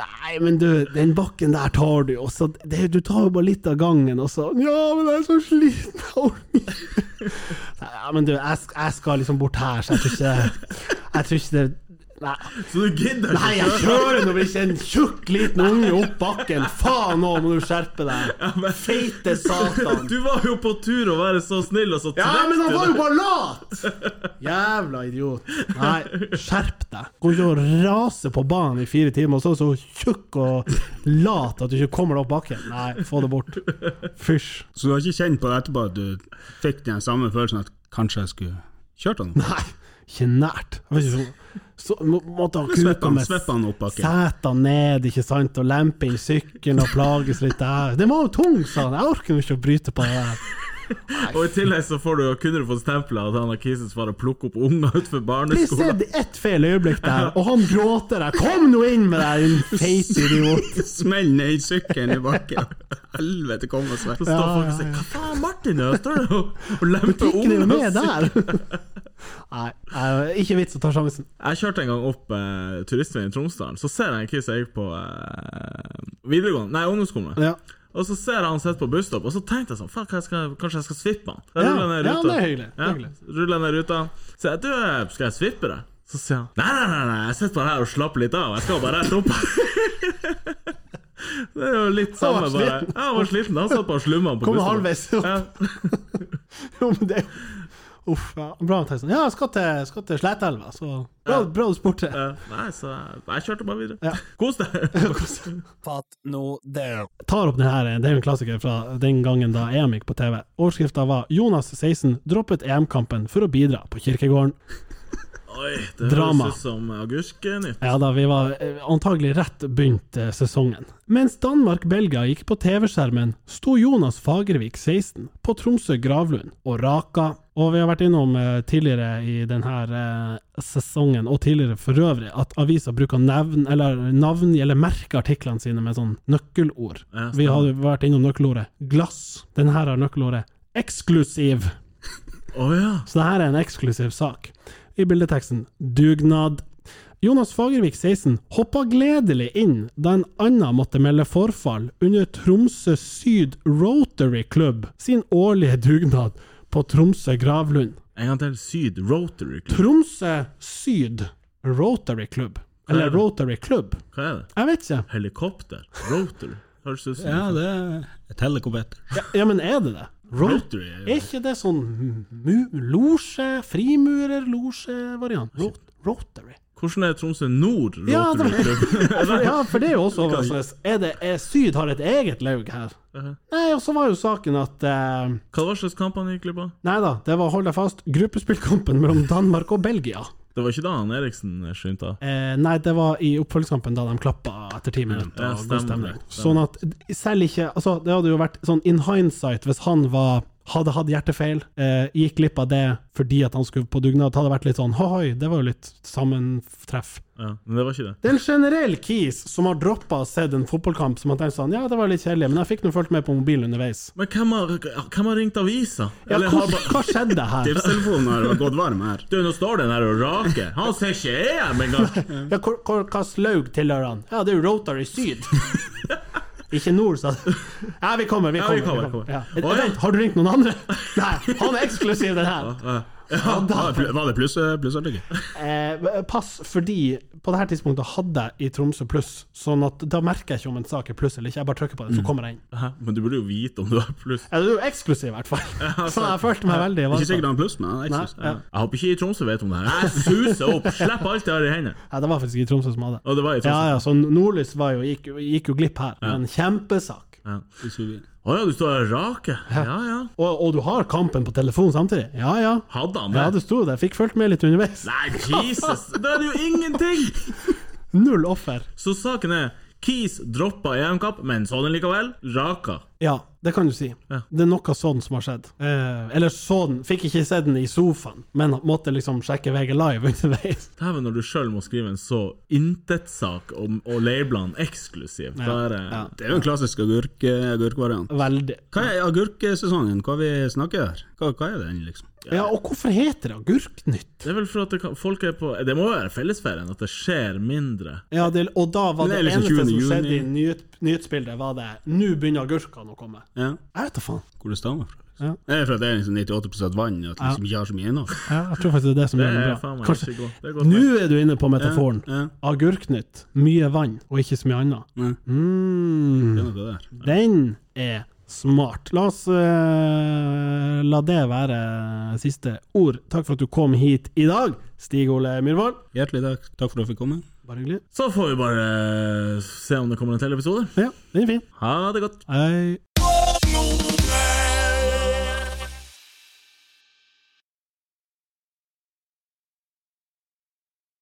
Speaker 2: Nei, men du, den bakken der tar du jo, så det, du tar jo bare litt av gangen, og så Ja, men jeg er så sliten, jeg orker ikke Nei, Ja, men du, jeg, sk- jeg skal liksom bort her, så jeg tror ikke Jeg tror ikke det Nei,
Speaker 1: Så du gidder
Speaker 2: nei
Speaker 1: ikke?
Speaker 2: jeg kjører nå ikke en tjukk liten unge opp bakken! Faen nå må du skjerpe deg! Feite satan!
Speaker 1: Du var jo på tur å være så snill, og så
Speaker 2: Ja, men han
Speaker 1: du
Speaker 2: var jo bare lat! Jævla idiot. Nei, skjerp deg. Går ikke og raser på banen i fire timer, og så er du så tjukk og lat at du ikke kommer deg opp bakken. Nei, få det bort. Fysj.
Speaker 3: Så du har ikke kjent på det etterpå at du fikk den samme følelsen at kanskje jeg skulle kjørt han?
Speaker 2: Nei, ikke nært. Jeg vet ikke, så, så må, måtte han
Speaker 3: Sveppe
Speaker 2: kuke
Speaker 3: han-
Speaker 2: med
Speaker 3: sveppe han opp bakken.
Speaker 2: seta ned, ikke sant, og lempe inn sykkelen og plages litt der. Den var jo tung, sa han. Jeg orker jo ikke å bryte på det der.
Speaker 1: Og i tillegg så får du, kunne du fått stempelet at han har kisset for å plukke opp unger utenfor
Speaker 2: Vi
Speaker 1: barneskolen.
Speaker 2: ser ett feil øyeblikk der, og han gråter der. Kom nå inn med deg, din feite idiot!
Speaker 3: Smell ned sykkelen i bakken. Helvete, kom og svepp.
Speaker 1: Så står
Speaker 2: Ja,
Speaker 1: folk og
Speaker 2: ja,
Speaker 1: sier
Speaker 2: ja.
Speaker 1: 'Hva faen, Martin? Jeg står der og, og lemper
Speaker 2: Butikken er jo
Speaker 1: unger'.
Speaker 2: med der! Nei, nei, ikke vits å ta sjansen.
Speaker 1: Jeg kjørte en gang opp eh, turistveien i Tromsdalen. Så ser jeg en kis jeg gikk på eh, videregående Nei, ungdomsskolen.
Speaker 2: Ja.
Speaker 1: Og så ser jeg han sitter på busstopp, og så tenkte jeg sånn Faen, hva jeg skal- kanskje jeg skal svippe han? Så jeg
Speaker 2: Ja,
Speaker 1: ruller ned
Speaker 2: ja,
Speaker 1: ruta.
Speaker 2: det er hyggelig, det er hyggelig.
Speaker 1: Ruller ned ruta. Så jeg, du, eh, skal jeg svippe deg? Så sier han Nei, nei, nei, nei jeg sitter bare her og slapper litt av. Jeg skal bare rett opp. det er jo litt samme,
Speaker 2: Han var
Speaker 1: bare.
Speaker 2: sliten.
Speaker 1: Ja, han var sliten. Han satt bare og slumma på
Speaker 2: Kommer
Speaker 1: busstoppen.
Speaker 2: halvveis opp.
Speaker 1: Ja.
Speaker 2: Jo, men det er jo Uff, ja. Bra, Tyson. Ja, jeg skal til, skal til Sletelva, så bra, bra du spurte.
Speaker 1: Ja, Nei, så jeg, jeg kjørte bare videre.
Speaker 2: Ja.
Speaker 1: Kos deg!
Speaker 4: Fatt nå det.
Speaker 2: tar opp den her, eh, det er jo en klassiker fra den gangen da EM gikk på TV. Overskrifta var 'Jonas 16 droppet EM-kampen for å bidra på kirkegården'.
Speaker 1: Oi, det
Speaker 2: Drama.
Speaker 1: høres ut som agurkenytt.
Speaker 2: Ja da, vi var eh, antagelig rett begynt eh, sesongen. Mens Danmark-Belgia gikk på TV-skjermen, sto Jonas Fagervik 16 på Tromsø Gravlund og raka. Og vi har vært innom eh, tidligere i denne sesongen, og tidligere for øvrig, at avisa bruker navn, eller navn, eller merker artiklene sine med sånn nøkkelord.
Speaker 1: Ja,
Speaker 2: vi har vært innom nøkkelordet glass. Den her har nøkkelordet eksklusiv.
Speaker 1: Å ja.
Speaker 2: Så det her er en eksklusiv sak. I bildeteksten 'Dugnad'. Jonas Fagervik 16 hoppa gledelig inn da en annen måtte melde forfall under Tromsø Syd Rotary Club sin årlige dugnad på Tromsø gravlund.
Speaker 1: En gang til. Syd Rotary Club.
Speaker 2: Tromsø Syd Rotary Club. Eller Rotary Club.
Speaker 1: Hva er det?
Speaker 2: Jeg vet ikke.
Speaker 1: Helikopter? Rotary? Høres ut som
Speaker 3: det er et helikopter.
Speaker 2: Ja, men er det det? Rotary.
Speaker 3: Rotary.
Speaker 2: Er ikke det sånn mu- losje, frimurer-losje-variant? Ro- Rotary.
Speaker 1: Hvordan er Tromsø Nord
Speaker 2: Ja, det-
Speaker 1: Rotary-klubb?
Speaker 2: For, ja, for det er jo også overraskende. Er det er Syd har et eget laug her?
Speaker 1: Uh-huh.
Speaker 2: Nei, og så var jo saken at eh,
Speaker 1: Hva var slags kamp han gikk glipp av?
Speaker 2: Nei da, det var hold deg fast, gruppespillkampen mellom Danmark og Belgia.
Speaker 1: Det var ikke da han Eriksen skynda?
Speaker 2: Eh, nei, det var i oppfølgingskampen da de klappa etter ti minutter.
Speaker 1: Ja,
Speaker 2: og god stemning.
Speaker 1: stemmer det,
Speaker 2: Sånn
Speaker 1: stemmer.
Speaker 2: at selv ikke Altså, det hadde jo vært sånn in hindsight hvis han var hadde hatt hjertefeil, eh, gikk glipp av det fordi at han skulle på dugnad. Det hadde vært litt sånn hohoi, det var jo litt sammentreff.
Speaker 1: Ja, men det var ikke det.
Speaker 2: Det er en generell kis som har droppa å se en fotballkamp, som har tenkt sånn Ja, det var litt kjedelig, men jeg fikk nå fulgt med på mobilen underveis.
Speaker 1: Men hvem har, hvem har ringt avisa?
Speaker 2: Ja,
Speaker 1: Eller
Speaker 2: hva,
Speaker 1: har bare
Speaker 2: hva skjedde her?
Speaker 3: Tipstelefonen har gått varm her.
Speaker 1: Du, nå står den her og raker. Han ser ikke EM engang!
Speaker 2: Ja, hvor- hvor- Hva slags laug tilhører han? Ja, det er jo Rotary Syd. Ikke nord, sa du. Ja, vi kommer, vi
Speaker 1: Ja,
Speaker 2: kommer.
Speaker 1: vi kommer, kommer.
Speaker 2: Ja.
Speaker 1: Oi.
Speaker 2: Vent, har du ringt noen andre? Nei, han er eksklusiv, den her.
Speaker 1: Ja.
Speaker 2: Ja, da.
Speaker 3: Var det pl- Var det pluss- plussartikkel?
Speaker 2: Eh, pass, fordi på det her tidspunktet hadde jeg i Tromsø pluss, sånn at da merker jeg ikke om en sak er pluss eller ikke. Jeg bare trykker på den,
Speaker 1: Mm.
Speaker 2: så kommer jeg inn.
Speaker 1: Hæ? Men du burde jo vite om du har pluss.
Speaker 2: Ja, du er jo eksklusiv, i hvert fall. Så
Speaker 1: altså.
Speaker 2: jeg følte meg veldig
Speaker 3: Ikke
Speaker 2: ivaretatt.
Speaker 3: sikkert han har pluss, men han er
Speaker 2: Nei,
Speaker 3: eksus.
Speaker 2: ja.
Speaker 1: Jeg håper ikke i Tromsø vet om det her. Jeg suser opp! Slipp alt jeg har i hendene!
Speaker 2: ja, det var faktisk i Tromsø som hadde.
Speaker 1: Og det var i
Speaker 2: Ja,
Speaker 1: Tromsø.
Speaker 2: ja, så Nordlys var jo, gikk, gikk jo glipp her. En kjempesak.
Speaker 3: Hvis vi-
Speaker 1: Å ja, du står og raker? Ja ja.
Speaker 2: Og, og du har kampen på telefon samtidig? Ja, ja.
Speaker 1: Hadde han det?
Speaker 2: Ja, det sto det. Fikk fulgt med litt underveis.
Speaker 1: Nei, Jesus! Da er det jo ingenting!
Speaker 2: Null offer.
Speaker 1: Så saken er Keys droppa EM-kapp, men så den likevel. Raka.
Speaker 2: Ja, det kan du si.
Speaker 1: Ja.
Speaker 2: Det er noe sånn som har skjedd. Eh, eller sånn Fikk ikke se den i sofaen, men måtte liksom sjekke VG live underveis.
Speaker 1: Dæven, når du sjøl må skrive en så intetsak om å labele han eksklusiv. Da er det
Speaker 2: Ja.
Speaker 3: Det er jo en klassisk agurk, eh, agurkvariant.
Speaker 2: Veldig.
Speaker 3: Hva er agurksesongen? Hva vi snakker her? Hva, hva er den, liksom?
Speaker 2: Ja, og hvorfor heter det Agurknytt?
Speaker 1: Det er vel for at det kan, folk er på Det må jo være fellesferien, at det skjer mindre.
Speaker 2: Ja, det, og da var
Speaker 3: Men det
Speaker 2: det,
Speaker 3: er liksom
Speaker 2: eneste
Speaker 3: 20.
Speaker 2: som
Speaker 3: juni.
Speaker 2: skjedde i nyhet, nyhetsbildet, var det 'nå begynner agurkene å komme'.
Speaker 3: Ja.
Speaker 2: Jeg vet da faen.
Speaker 3: Hvor det stammer fra?
Speaker 2: Ja.
Speaker 3: Liksom. Er det fordi det er liksom 98 vann, at det liksom ikke har så mye innhold?
Speaker 2: Ja, jeg tror faktisk det er det som
Speaker 1: Det
Speaker 2: gjør
Speaker 1: er
Speaker 2: det bra.
Speaker 1: faen meg
Speaker 2: Kanskje,
Speaker 1: ikke godt. Det er godt
Speaker 2: nå er du inne på metaforen.
Speaker 3: Ja, ja.
Speaker 2: Agurknytt. Mye vann, og ikke så mye annet.
Speaker 3: Nei.
Speaker 2: Mm.
Speaker 3: Det er noe der.
Speaker 2: Den er smart. La oss eh, la det være siste ord. Takk for at du kom hit i dag, Stig Ole Myhrvold.
Speaker 3: Hjertelig takk. Takk for at jeg fikk komme.
Speaker 2: Bare hyggelig.
Speaker 1: eh, Så får vi bare se om det kommer en til episode.
Speaker 2: Ja, den er fin.
Speaker 1: Ha det godt.
Speaker 2: Hei.